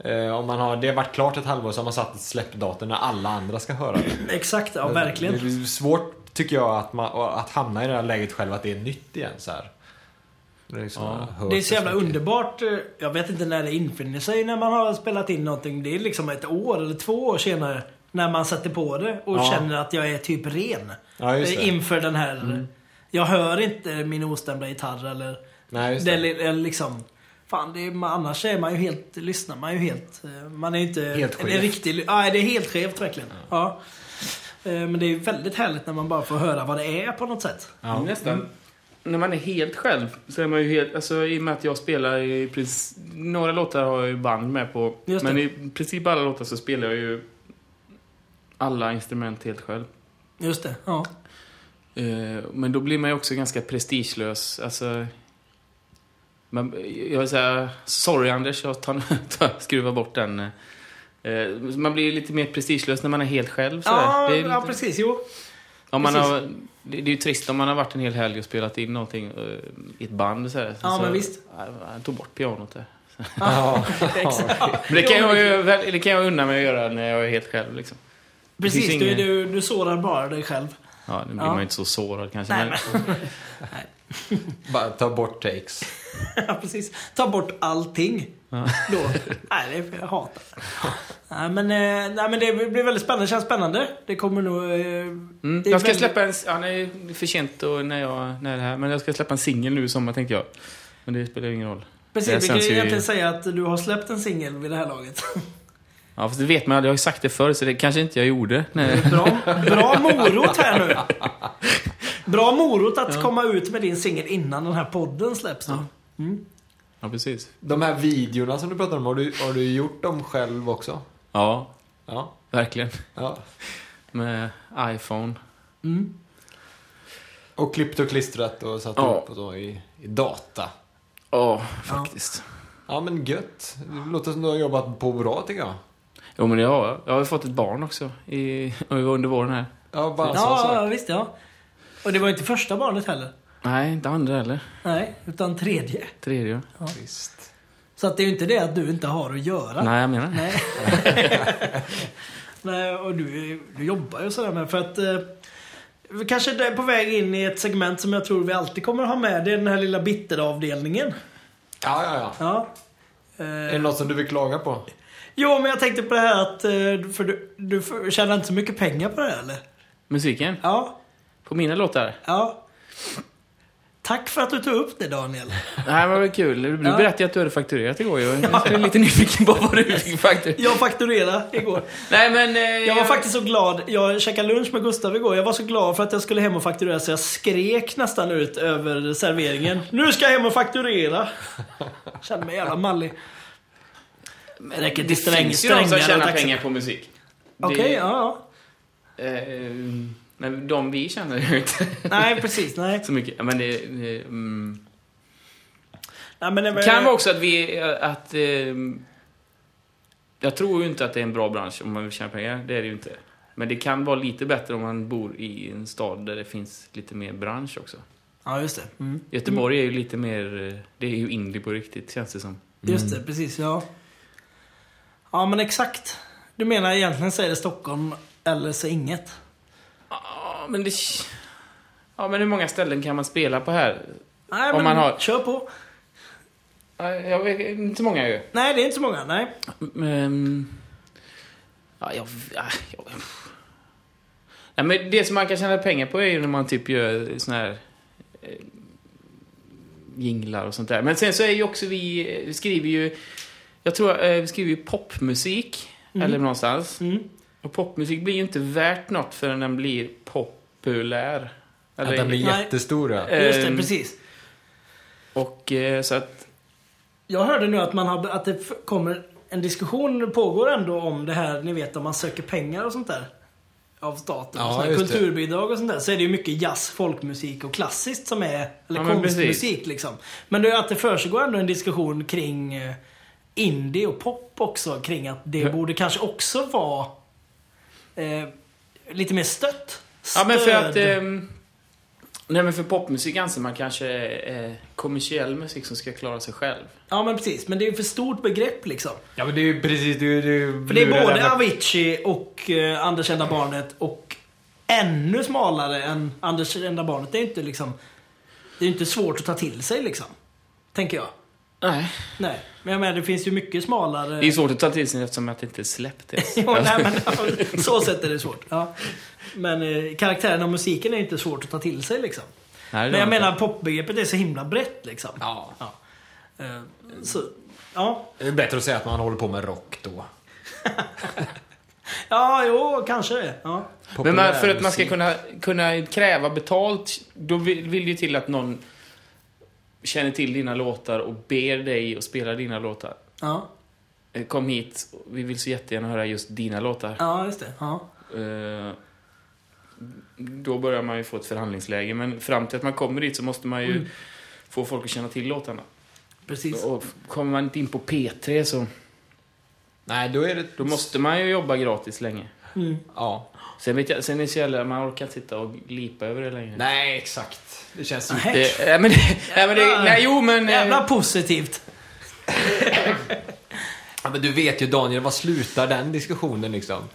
Speaker 2: Eh, om man har, det har varit klart ett halvår så har man satt ett släppdatum när alla andra ska höra det.
Speaker 4: Exakt, ja
Speaker 2: Det
Speaker 4: verkligen.
Speaker 2: är svårt tycker jag att, man, att hamna i det här läget själv att det är nytt igen så här. Det är, liksom, man hör
Speaker 4: Det är så jävla
Speaker 2: mycket.
Speaker 4: underbart. eh, Jag vet inte när det infinner sig när man har spelat in någonting. Det är liksom ett år eller två år senare. När man sätter på det och
Speaker 2: Ja.
Speaker 4: känner att jag är typ ren.
Speaker 2: Ja, just
Speaker 4: Eh,
Speaker 2: det. Mm.
Speaker 4: Inför den här... Jag hör inte min ostämda gitarr eller...
Speaker 2: Nej, just
Speaker 4: det.
Speaker 2: det.
Speaker 4: Eller, eller liksom... Fan, det är, man- annars är man ju helt... Lyssnar man ju helt... eh, Man är ju inte...
Speaker 2: Helt
Speaker 4: det är
Speaker 2: skev.
Speaker 4: riktigt, Nej, det är helt skevt verkligen. Ja. Eh, Men det är ju väldigt härligt när man bara får höra vad det är på något sätt.
Speaker 1: Ja. Nästan. Mm. När man är helt själv så är man ju helt... Alltså i och med att jag spelar i princip... Några låtar har jag ju band med på.
Speaker 4: Just det.
Speaker 1: Men i princip alla låtar så spelar jag ju alla instrument helt själv.
Speaker 4: Just det, ja.
Speaker 1: Eh, Men då blir man ju också ganska prestigelös. Alltså, man, jag säger sorry Anders, jag tar, tar, skruvar bort den. Eh, Man blir ju lite mer prestigelös när man är helt själv. sådär.
Speaker 4: Ja,
Speaker 1: Det är
Speaker 4: ja,
Speaker 1: lite-
Speaker 4: precis. Jo.
Speaker 1: om man
Speaker 4: precis.
Speaker 1: har, det, det är ju trist om man har varit en hel helg och spelat in någonting eh, i ett band. Så här.
Speaker 4: Ja,
Speaker 1: så,
Speaker 4: men visst.
Speaker 1: Ja, Han tog bort pianot där.
Speaker 2: Ja.
Speaker 1: Men det kan, jag ju, väl- det kan jag unna mig att göra när jag är helt själv. Liksom.
Speaker 4: Precis,
Speaker 1: finns
Speaker 4: du,
Speaker 1: ingen-
Speaker 4: du, du sårar bara dig själv.
Speaker 1: Ja, nu blir
Speaker 4: Ja.
Speaker 1: man ju inte så sårad kanske.
Speaker 4: Nej,
Speaker 1: men,
Speaker 2: Bara ta bort takes.
Speaker 4: Ja, precis. Ta bort allting. Då. Nej, det är, jag hatar det. Nej, men, eh, nej, men det blir väldigt spännande. känns spännande. Det kommer nog... eh,
Speaker 1: Mm,
Speaker 4: det är
Speaker 1: jag ska
Speaker 4: väldigt-
Speaker 1: släppa en... Ja, nej, det är för sent och när, jag, när det här. Men jag ska släppa en singel nu i sommar tänkte jag. Men det spelar ju ingen roll. det
Speaker 4: Precis, vi kan
Speaker 1: känns
Speaker 4: ju
Speaker 1: ju-
Speaker 4: egentligen säga att du har släppt en singel vid det här laget.
Speaker 1: Ja, fast det vet man aldrig. Jag har ju sagt det förr, så det kanske inte jag gjorde. Nej.
Speaker 4: Bra, bra morot här nu. Bra morot att komma ut med din singel innan den här podden släpps. Då.
Speaker 1: Ja, precis.
Speaker 2: De här videorna som du pratade om, har du, har du gjort dem själv också?
Speaker 1: Ja,
Speaker 2: Ja.
Speaker 1: verkligen.
Speaker 2: ja.
Speaker 1: Med iPhone.
Speaker 2: Och klippt och klistrat och satt
Speaker 1: Ja.
Speaker 2: upp och så i, i data.
Speaker 1: Ja, faktiskt.
Speaker 2: Ja men gött. Det låter som du har jobbat på bra tycker jag.
Speaker 1: Jo, men jag har, jag har ju fått ett barn också i, under våren här.
Speaker 2: Ja, bara en sån
Speaker 4: Ja,
Speaker 2: sak.
Speaker 4: ja, visst ja. Och det var ju inte första barnet heller.
Speaker 1: Nej, inte andra heller.
Speaker 4: Nej, utan tredje.
Speaker 1: Tredje.
Speaker 2: Visst.
Speaker 4: Så att det är ju inte det att du inte har att göra.
Speaker 1: Nej, jag menar det.
Speaker 4: Nej. Nej, och du, du jobbar ju sådär med för att eh, vi kanske är på väg in i ett segment som jag tror vi alltid kommer ha med. Det är den här lilla bitteravdelningen.
Speaker 2: Ja, ja, ja.
Speaker 4: Ja. Eh,
Speaker 2: Är det något som du vill klaga på?
Speaker 4: Jo, men jag tänkte på det här att... eh, För du, du får- tjänar inte så mycket pengar på det här eller?
Speaker 1: Musiken?
Speaker 4: Ja.
Speaker 1: På mina låtar?
Speaker 4: Ja. Tack för att du tog upp det Daniel.
Speaker 1: Det här var väl kul. Du
Speaker 4: Ja.
Speaker 1: berättade ju att du hade fakturerat igår ju. Jag är lite nyfiken på vad du fick fakturerat.
Speaker 4: Jag fakturerade igår.
Speaker 1: Nej men... eh,
Speaker 4: Jag var faktiskt så glad. Jag käkade lunch med Gustav igår. Jag var så glad för att jag skulle hem och fakturera så jag skrek nästan ut över serveringen. Nu ska jag hem och fakturera! Kände mig jävla mallig. Men det räcker
Speaker 1: Det
Speaker 4: till sträng,
Speaker 1: finns ju de som
Speaker 4: strängare
Speaker 1: tjänar
Speaker 4: taxi.
Speaker 1: pengar på musik. Det-
Speaker 4: Okej, ja, ja.
Speaker 1: eh, Men de vi känner ju inte
Speaker 4: Nej, precis. Nej.
Speaker 1: så mycket. Men det... det mm.
Speaker 4: nej men, men,
Speaker 1: Det kan vara också att vi... Att, ehm, jag tror ju inte att det är en bra bransch om man vill tjäna pengar. Det är det ju inte. Men det kan vara lite bättre om man bor i en stad där det finns lite mer bransch också.
Speaker 4: Ja, just det. Mm.
Speaker 1: Göteborg är ju lite mer... eh, Det är ju indie på riktigt, känns det som.
Speaker 4: Just det, precis. Ja. Ja, men exakt. Du menar egentligen så är det Stockholm eller så inget.
Speaker 1: Ja, men det... Ja, men hur många ställen kan man spela på här?
Speaker 4: Nej,
Speaker 1: Om
Speaker 4: men
Speaker 1: man har-
Speaker 4: kör på.
Speaker 1: Ja, Jag vet inte så många ju.
Speaker 4: Nej, det är inte så många. Nej.
Speaker 1: Ehm, ja, jag, ja, jag, Nej, men det som man kan tjäna pengar på är ju när man typ gör såna här eh, jinglar och sånt där. Men sen så är ju också vi, eh, vi skriver ju, jag tror eh, vi skriver ju popmusik, eller någonstans.
Speaker 4: Mm.
Speaker 1: Och popmusik blir ju inte värt något förrän den blir populär.
Speaker 2: Att den blir
Speaker 4: Nej.
Speaker 2: jättestor, ja.
Speaker 4: Just det,
Speaker 1: Ehm,
Speaker 4: precis.
Speaker 1: Och eh, så att,
Speaker 4: Jag hörde nu att, man har, att det f- kommer en diskussion pågår ändå om det här, ni vet om man söker pengar och sånt där. Av staten.
Speaker 2: Ja,
Speaker 4: och sånt där,
Speaker 2: just det.
Speaker 4: kulturbidrag och sånt där. Så är det ju mycket jazz, folkmusik och klassiskt som är, eller
Speaker 1: Ja, men
Speaker 4: konstmusik liksom. Men det är att det försiggår ändå en diskussion kring eh, indie och pop också. Kring att det
Speaker 1: Ja.
Speaker 4: borde kanske också vara eh, lite mer stött.
Speaker 1: ja men för att,
Speaker 4: Stöd.
Speaker 1: ehm, nej men för popmusik anser man kanske är eh, kommersiell musik som ska klara sig själv.
Speaker 4: Ja men precis, men det är ju för stort begrepp liksom.
Speaker 2: Ja, men det är ju precis... Det är, ju- det är, ju-
Speaker 4: För det är
Speaker 2: nu
Speaker 4: både
Speaker 2: där med-
Speaker 4: Avicii och eh, Anders Enda Barnet och ännu smalare än Anders Enda Barnet. Det är inte liksom... Det är inte svårt att ta till sig liksom. Tänker jag.
Speaker 1: Nej.
Speaker 4: Nej. Men jag menar, det finns ju mycket smalare...
Speaker 1: Det är svårt att ta till sig eftersom att det inte är släppt ens.
Speaker 4: Jo, nej, men, så sätt är det svårt. Ja. Men eh, karaktären och musiken är ju inte svårt att ta till sig liksom.
Speaker 1: Nej, det
Speaker 4: Men jag
Speaker 1: var inte.
Speaker 4: menar popbegreppet är så himla brett liksom.
Speaker 2: Ja.
Speaker 4: Ja. Eh, Så, ja.
Speaker 2: Det är bättre att säga att man håller på med rock då.
Speaker 4: ja, jo, kanske det. Ja.
Speaker 1: Men man, för
Speaker 2: Populär
Speaker 1: att man ska
Speaker 2: musik.
Speaker 1: kunna, kunna kräva betalt, då vill, vill det ju till att någon känner till dina låtar och ber dig att spela dina låtar.
Speaker 4: Ja,
Speaker 1: Eh, Kom hit, vi vill så jättegärna höra just dina låtar.
Speaker 4: ja just det. Ja.
Speaker 1: Eh, Då börjar man ju få ett förhandlingsläge, men fram till att man kommer dit så måste man ju få folk att känna till låtarna.
Speaker 4: Precis.
Speaker 1: Och kommer man inte in på P3 så
Speaker 2: Nej, då är det...
Speaker 1: då måste man ju jobba gratis länge.
Speaker 2: Ja.
Speaker 1: Sen, vet jag, sen är det så jävla, man orkar inte sitta och lipa över det längre.
Speaker 2: Nej, exakt. Det känns ju...
Speaker 4: Nej.
Speaker 1: Det, nej men det, nej men det, nej jo men... eh,
Speaker 4: Jävla positivt.
Speaker 2: Ja, men du vet ju Daniel, vad slutar den diskussionen liksom?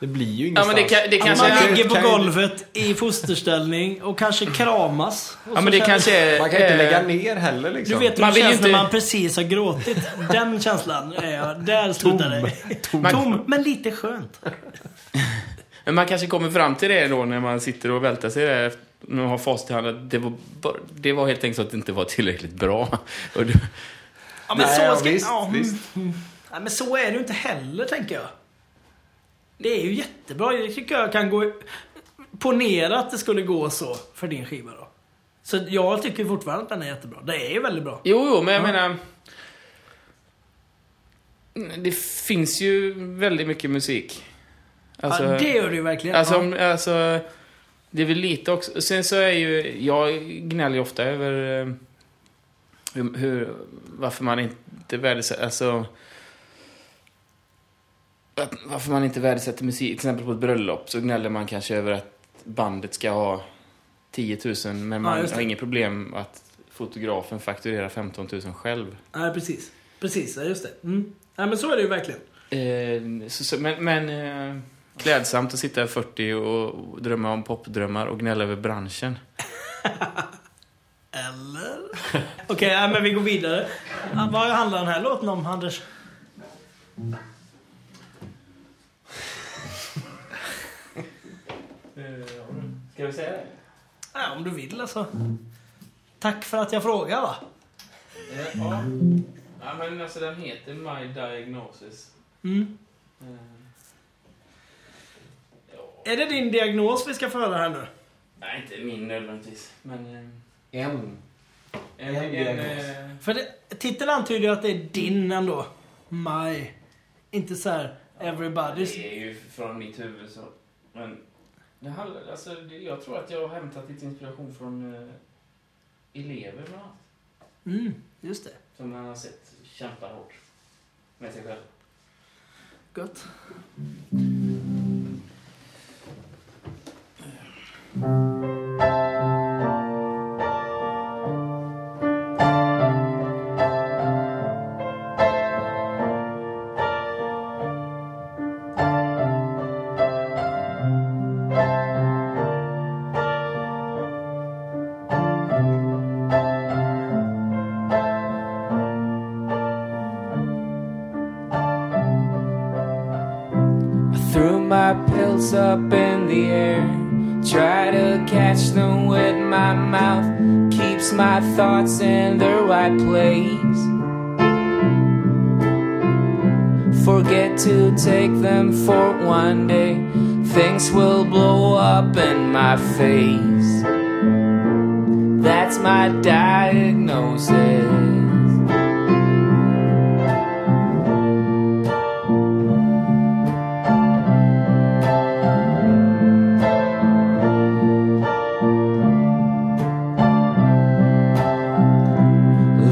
Speaker 2: Det blir ju
Speaker 1: Ja
Speaker 2: ingenstans.
Speaker 1: men det, kan, det kanske
Speaker 4: man
Speaker 1: är...
Speaker 4: ligger på
Speaker 2: kan ju-
Speaker 4: golvet i fosterställning och kanske kramas. Och
Speaker 1: Ja
Speaker 4: så
Speaker 1: men det
Speaker 4: känner-
Speaker 1: kanske är...
Speaker 2: Man kan inte
Speaker 1: eh,
Speaker 2: lägga ner heller liksom.
Speaker 4: Du vet hur
Speaker 1: Man
Speaker 4: det
Speaker 1: vill ju
Speaker 4: känns när
Speaker 1: inte-
Speaker 4: man precis har gråtit. Den känslan är jag. Där slutar det. Tom. Tom, men lite skönt.
Speaker 1: Men man kanske kommer fram till det då när man sitter och vältar sig där efter- när man har facit i handen. Det var, bara- det var helt enkelt så att det inte var tillräckligt bra. Och då,
Speaker 4: Ja, men,
Speaker 2: Nej,
Speaker 4: så
Speaker 2: ja,
Speaker 4: ska,
Speaker 2: visst,
Speaker 4: ja, mm.
Speaker 2: visst.
Speaker 4: Nej, men så är det ju inte heller, tänker jag. Det är ju jättebra. Det tycker jag kan gå... Ponera att det skulle gå så för din skiva då. Så jag tycker fortfarande att den är jättebra. Det är ju väldigt bra.
Speaker 1: jo, jo, men jag menar... Det finns ju väldigt mycket musik. Alltså-
Speaker 4: ja, det gör det ju verkligen.
Speaker 1: Alltså,
Speaker 4: Ja.
Speaker 1: om, alltså, det är väl lite också. Sen så är ju, jag gnäller ju ofta över eh, hur, hur, varför man inte värdesätter, alltså att- varför man inte värdesätter musik. Till exempel på ett bröllop så gnäller man kanske över att bandet ska ha 10 000 men man
Speaker 4: just det.
Speaker 1: har inget problem att fotografen fakturerar 15 000 själv.
Speaker 4: Nej, precis. Precis, ja, just det. Mm. Nej, men så är det ju verkligen.
Speaker 1: Eh, så, så, men, men eh, Klädsamt att sitta i 40 och drömma om popdrömmar och gnälla över branschen.
Speaker 4: Eller? Okej, nej, men vi går vidare. Ah, Vad handlar den här låten om, Anders?
Speaker 1: Eh, Ska vi säga det?
Speaker 4: Ja, om du vill alltså. Tack för att jag frågar va?
Speaker 1: Eh, Ja. ja, men alltså den heter My Diagnosis. Eh,
Speaker 4: Mm. Är det din diagnos vi ska föra här nu?
Speaker 1: Nej, inte min nödvändigtvis. Men... eh,
Speaker 2: En.
Speaker 1: En,
Speaker 2: En
Speaker 1: en,
Speaker 2: diagnos.
Speaker 1: eh,
Speaker 4: För det, titeln antyder ju att det är din ändå. My. Inte så här everybody's.
Speaker 1: Det är ju från mitt huvud så. Men det handlar, alltså, det- jag tror att jag har hämtat lite inspiration från eh, elever bland annat.
Speaker 4: Mm, just det.
Speaker 1: Som man har sett kämpa hårt med sig själv.
Speaker 4: Gott.
Speaker 5: I threw my pills up in the air. Try to catch them with my mouth. Keeps my thoughts in the right place. Forget to take them for one day. Things will blow up in my face. That's my diagnosis.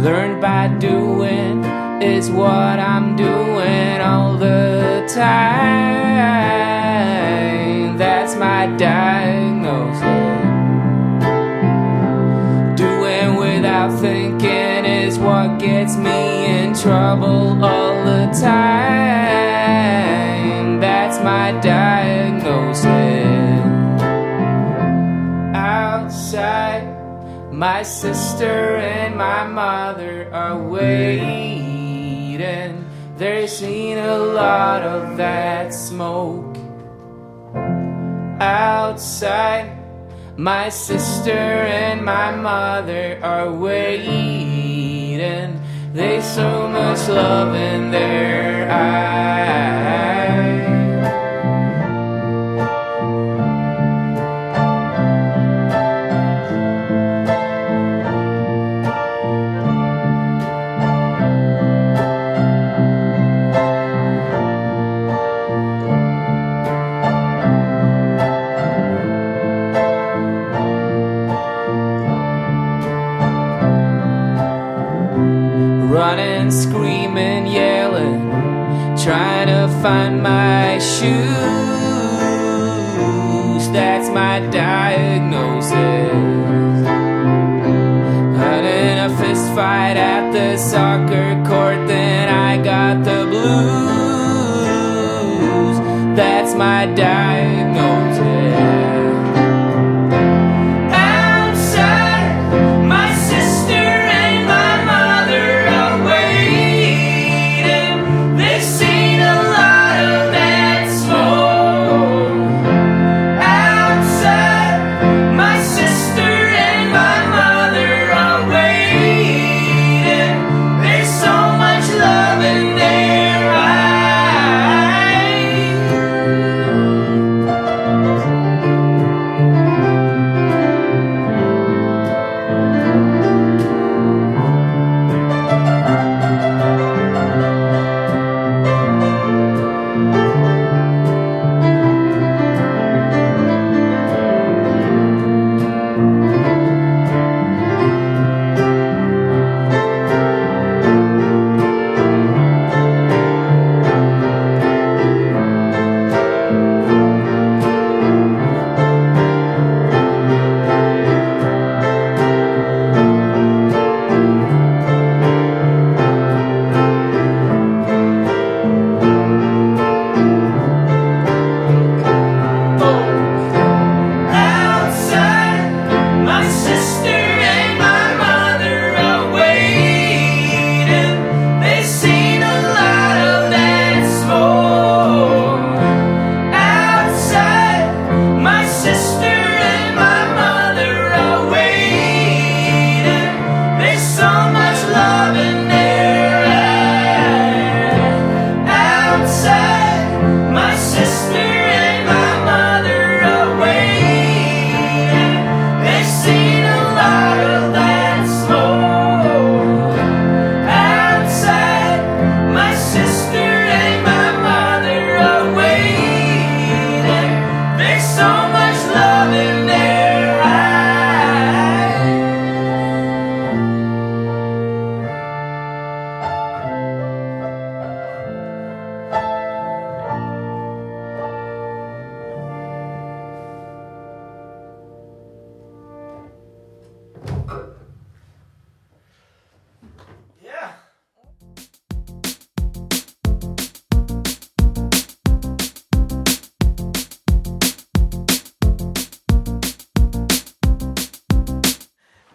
Speaker 5: Learn by doing is what I'm doing all the time. That's my diagnosis. Doing without thinking is what gets me in trouble all the time. That's my diagnosis outside. My sister and my mother are waiting. They're seeing a lot of that smoke outside. My sister and my mother are waiting. They so much love in their eyes. running, screaming, yelling, trying to find my shoes. That's my diagnosis. Out in a fist fight at the soccer court, then I got the blues. That's my diagnosis. Outside, my sister and my mother are waiting. They've seen a lot of that smoke. Outside, my sister and my mother are waiting. They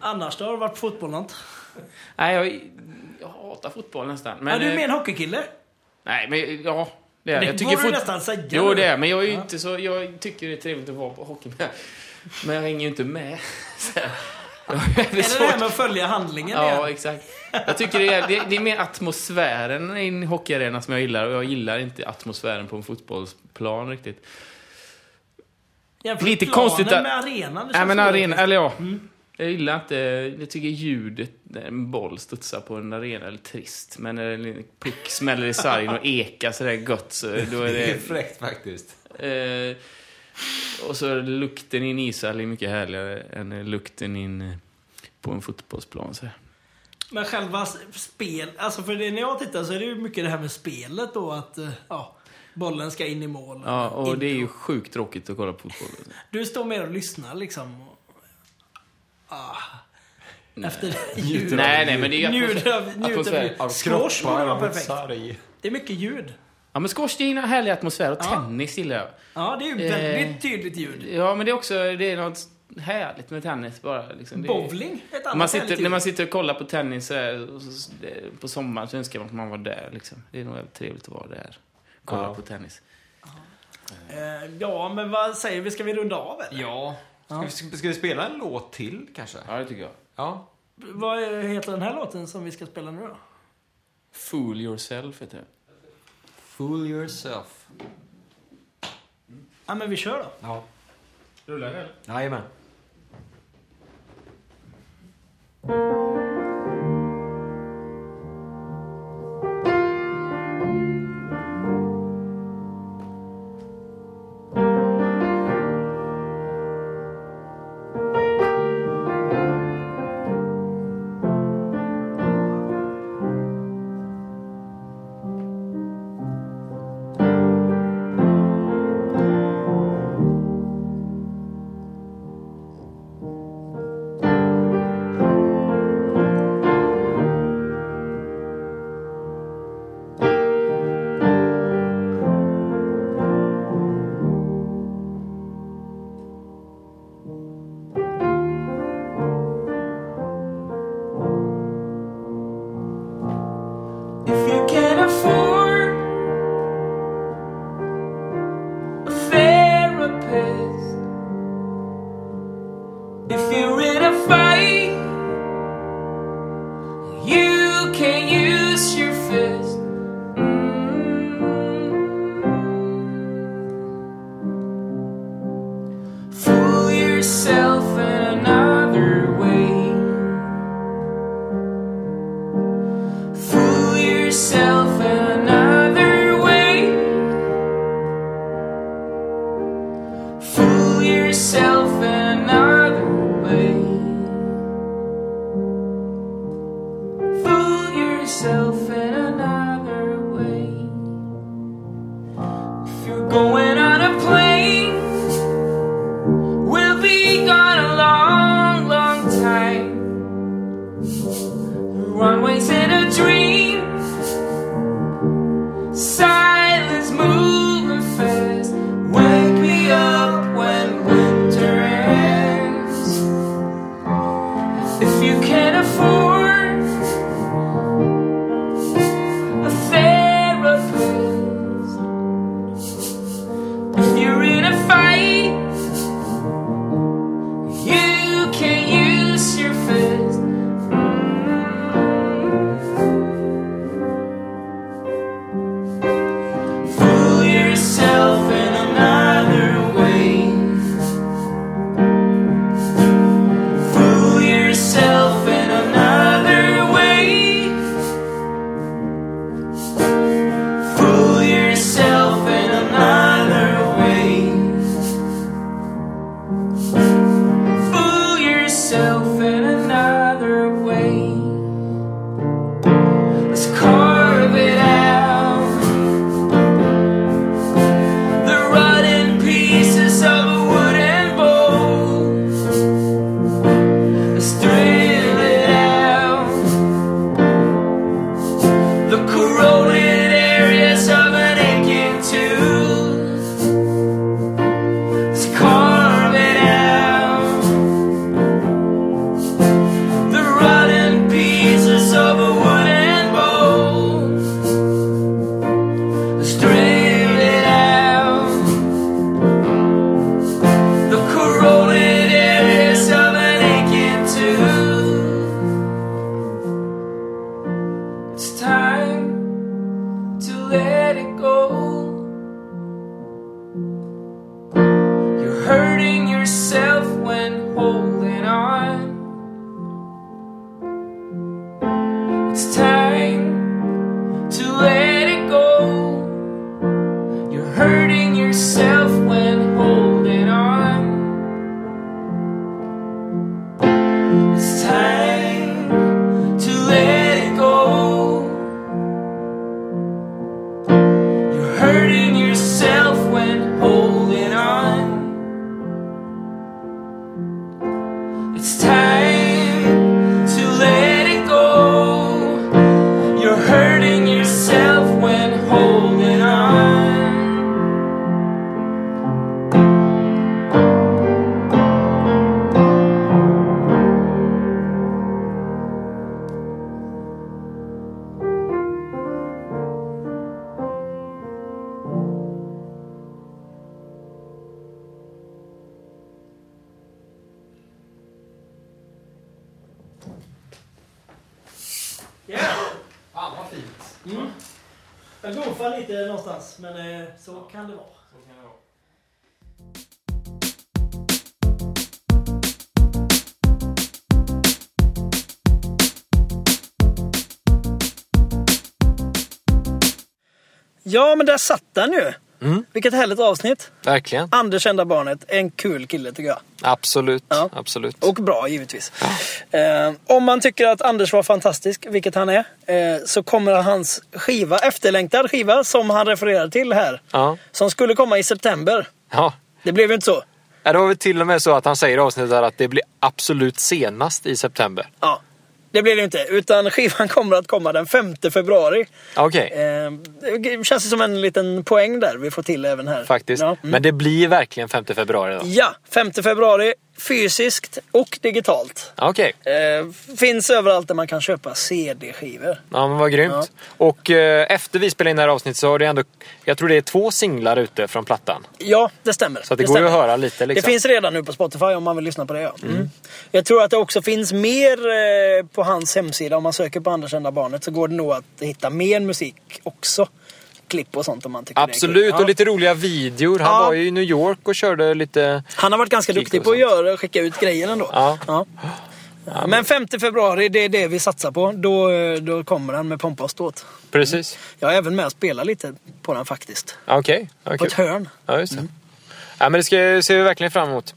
Speaker 4: Annars då? Har det varit fotboll något?
Speaker 1: Nej, jag, jag hatar fotboll nästan. Men,
Speaker 4: Men, ja, du är
Speaker 1: eh,
Speaker 4: mer en hockeykille?
Speaker 1: Nej, men ja. Det, är,
Speaker 4: Det
Speaker 1: jag
Speaker 4: jag
Speaker 1: tycker
Speaker 4: borde du
Speaker 1: fot...
Speaker 4: nästan säga.
Speaker 1: Jo,
Speaker 4: nu.
Speaker 1: det är men jag är ju inte så... Jag tycker det är trevligt att vara på hockey med. Men jag hänger ju inte med. Så här. Jag har
Speaker 4: Är
Speaker 1: väldigt
Speaker 4: det det här
Speaker 1: svårt.
Speaker 4: med att följa handlingen
Speaker 1: Ja,
Speaker 4: igen?
Speaker 1: exakt. Jag tycker det är, det, det är mer atmosfären i en hockeyarena som jag gillar. Och jag gillar inte atmosfären på en fotbollsplan riktigt.
Speaker 4: Jämfört
Speaker 1: lite
Speaker 4: planen
Speaker 1: konstigt att-
Speaker 4: med arenan. det
Speaker 1: Nej
Speaker 4: känns
Speaker 1: men arena,
Speaker 4: orättvist.
Speaker 1: eller ja. Jag gillar inte, jag tycker ljudet när en boll studsar på en arena är trist. Men när en puck smäller i sargen och ekar sådär gött så då är
Speaker 2: Det är
Speaker 1: det...
Speaker 2: fräckt faktiskt.
Speaker 1: Eh, och så är lukten i en ishall är mycket härligare än lukten in eh, på en fotbollsplan. Så.
Speaker 4: Men själva s- spel, alltså för det, när jag tittar så är det ju mycket det här med spelet då att eh, ja, bollen ska in i mål.
Speaker 1: Ja, och
Speaker 4: In-
Speaker 1: det är ju sjukt tråkigt att kolla på fotboll.
Speaker 4: Du står mer och lyssnar liksom. och- Ah. Efter det
Speaker 2: Njuter
Speaker 4: ljud.
Speaker 1: Nej, nej, men det är ju...
Speaker 4: Njuter av, njuter
Speaker 1: atmosfär.
Speaker 4: av Squash borde vara perfekt.
Speaker 2: sarg.
Speaker 4: Det är mycket ljud.
Speaker 1: Ja, men skorsten har härlig atmosfär och
Speaker 4: Ja.
Speaker 1: tennis gillar jag.
Speaker 4: Ja, det är ju
Speaker 1: Eh,
Speaker 4: väldigt tydligt ljud.
Speaker 1: Ja, men det är också, det är något härligt med tennis bara. Liksom. Det är,
Speaker 4: Bowling, ett
Speaker 1: När
Speaker 4: annat
Speaker 1: man sitter,
Speaker 4: härligt
Speaker 1: när man
Speaker 4: ljud.
Speaker 1: sitter och kollar på tennis så här, och så, på sommaren så önskar man att man var där. Liksom. Det är nog väldigt trevligt att vara där. Kolla
Speaker 2: Ja.
Speaker 1: på tennis.
Speaker 4: Eh, Ja, men vad säger vi? Ska vi runda av eller?
Speaker 2: Ja. Ska vi, ska vi spela en låt till kanske?
Speaker 1: Ja, det tycker jag.
Speaker 2: Ja.
Speaker 4: Vad heter den här låten som vi ska spela nu då?
Speaker 1: Fool yourself heter det.
Speaker 2: Fool yourself.
Speaker 4: Ja, men vi kör då.
Speaker 2: Ja.
Speaker 1: Rullar det?
Speaker 2: Jajamän.
Speaker 5: If you can afford a therapist, if you're in a fight, you can use your fist. Mm-hmm. Mm. Fool yourself in another way. Fool yourself in another way. Fool yourself in another way. Fool yourself in another way. If you're going on a plane, we'll be gone a long, long time runways in a dream. Silence moving fast. Wake me up when winter ends. If you can afford a therapist, if you're in a fight, you can use your fist. Fool yourself in another way. Fool yourself in another
Speaker 6: It's time to let it go. You're hurting yourself when holding on. It's time to let it go. You're hurting yourself when holding on. It's time to let it go. You're hurting yourself when holding on.
Speaker 7: Fan vad fint.
Speaker 8: Jag goofar lite någonstans, men eh, så kan det vara.
Speaker 4: Ja, men där satt den ju.
Speaker 3: Mm.
Speaker 4: Vilket härligt avsnitt.
Speaker 3: Verkligen.
Speaker 4: Anders, kända barnet, en kul kille tycker jag.
Speaker 3: Absolut.
Speaker 4: Ja.
Speaker 3: Absolut.
Speaker 4: Och bra givetvis. Eh, om man tycker att Anders var fantastisk, vilket han är, eh, så kommer hans skiva, efterlängtad skiva som han refererar till här,
Speaker 3: Ja.
Speaker 4: som skulle komma i september.
Speaker 3: ja.
Speaker 4: Det blev ju inte så.
Speaker 3: Ja, Det var väl till och med så att han säger i avsnittet här att det blir absolut senast i september.
Speaker 4: Ja, det blev det ju inte. Utan skivan kommer att komma den 5 februari.
Speaker 3: Okej,
Speaker 4: Eh, det känns ju som en liten poäng där vi får till även här.
Speaker 3: faktiskt.
Speaker 4: Ja, mm.
Speaker 3: Men det blir verkligen 5 februari då.
Speaker 4: ja 5 februari, fysiskt och digitalt.
Speaker 3: Okej,
Speaker 4: Eh, finns överallt där man kan köpa CD-skivor.
Speaker 3: ja, men vad grymt. Och eh, efter vi spelade in det här avsnittet så har det ändå, jag tror det är två singlar ute från plattan.
Speaker 4: Ja, det stämmer.
Speaker 3: Så att det, går ju
Speaker 4: stämmer.
Speaker 3: att höra lite liksom.
Speaker 4: Det finns redan nu på Spotify om man vill lyssna på det. Ja. Mm. Jag tror att det också finns mer eh, på hans hemsida. Om man söker på Anders Enda Barnet så går det nog att hitta mer musik också. Klipp och sånt om man tycker det är kul.
Speaker 3: Absolut, och lite roliga videor. Han
Speaker 4: Ja. Mm.
Speaker 3: var ju i New York och körde lite...
Speaker 4: Han har varit ganska
Speaker 3: Klick
Speaker 4: duktig
Speaker 3: och
Speaker 4: på att
Speaker 3: sånt.
Speaker 4: göra, skicka ut grejer ändå.
Speaker 3: Ja.
Speaker 4: Ja, Men 5 februari, det är det vi satsar på. Då, eh, då kommer han med pompa och ståt.
Speaker 3: Precis.
Speaker 4: Jag är även med och spelar lite på den faktiskt.
Speaker 3: Okej. ja,
Speaker 4: På
Speaker 3: kul.
Speaker 4: ett hörn.
Speaker 3: Ja, just det. Ja, men det ska, ser vi verkligen fram emot.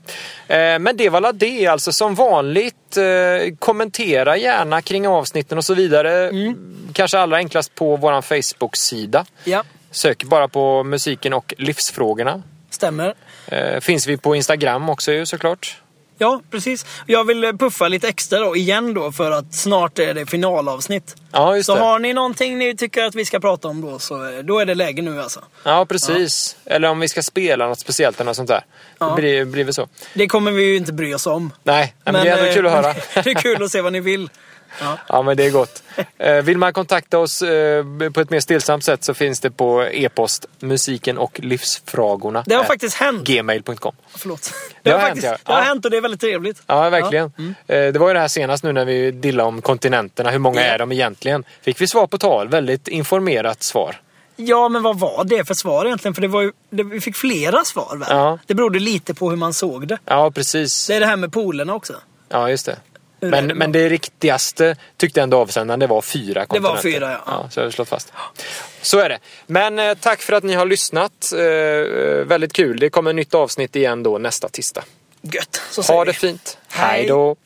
Speaker 3: Eh, men det var alla det. Alltså som vanligt, eh, kommentera gärna kring avsnitten och så vidare.
Speaker 4: Mm.
Speaker 3: Kanske allra enklast på vår Facebook-sida.
Speaker 4: Ja,
Speaker 3: Sök bara på musiken och livsfrågorna.
Speaker 4: stämmer.
Speaker 3: Eh, finns vi på Instagram också ju såklart.
Speaker 4: Ja, precis. Jag vill eh, puffa lite extra då, igen då, för att snart är det finalavsnitt.
Speaker 3: Ja, just
Speaker 4: Så
Speaker 3: det.
Speaker 4: har ni någonting ni tycker att vi ska prata om då, så eh, då är det läge nu alltså.
Speaker 3: Ja, precis. Eller om vi ska spela något speciellt eller något sånt där.
Speaker 4: Ja.
Speaker 3: Det blir, blir väl så.
Speaker 4: Det kommer vi ju inte bry oss om.
Speaker 3: Nej, men, men det är ändå
Speaker 4: eh,
Speaker 3: kul att höra.
Speaker 4: det är kul att se vad ni vill.
Speaker 3: Ja, men det är gott. Eh, Vill man kontakta oss eh, på ett mer stillsamt sätt så finns det på e-post musiken och livsfrågorna.
Speaker 4: Det har
Speaker 3: at
Speaker 4: faktiskt hänt.
Speaker 3: Gmail.com.
Speaker 4: Förlåt.
Speaker 3: Det
Speaker 4: Det
Speaker 3: har
Speaker 4: har,
Speaker 3: hänt,
Speaker 4: faktiskt,
Speaker 3: ja.
Speaker 4: det har
Speaker 3: Ja.
Speaker 4: hänt och det är väldigt trevligt.
Speaker 3: Ja, verkligen.
Speaker 4: mm.
Speaker 3: Eh, Det var ju det här senast nu när vi dillade om kontinenterna. Hur många
Speaker 4: Ja.
Speaker 3: är de egentligen? Fick vi svar på tal. Väldigt informerat svar.
Speaker 4: Ja, men vad var det för svar egentligen? För det var ju, det, vi fick flera svar väl?
Speaker 3: Ja.
Speaker 4: Det berodde lite på hur man såg det.
Speaker 3: Ja, precis.
Speaker 4: Det är det här med polerna också.
Speaker 3: Ja, just det.
Speaker 4: Hur
Speaker 3: Men,
Speaker 4: är det?
Speaker 3: men det riktigaste tyckte ändå avsändaren det var fyra kontinenter.
Speaker 4: fyra, ja.
Speaker 3: ja. Så jag har slått fast. Så är det. Men eh, tack för att ni har lyssnat. Eh, eh, Väldigt kul. Det kommer ett nytt avsnitt igen då nästa tisdag.
Speaker 4: Gött, så säger
Speaker 3: Ha
Speaker 4: vi.
Speaker 3: det fint.
Speaker 4: Hej.
Speaker 3: Hej då.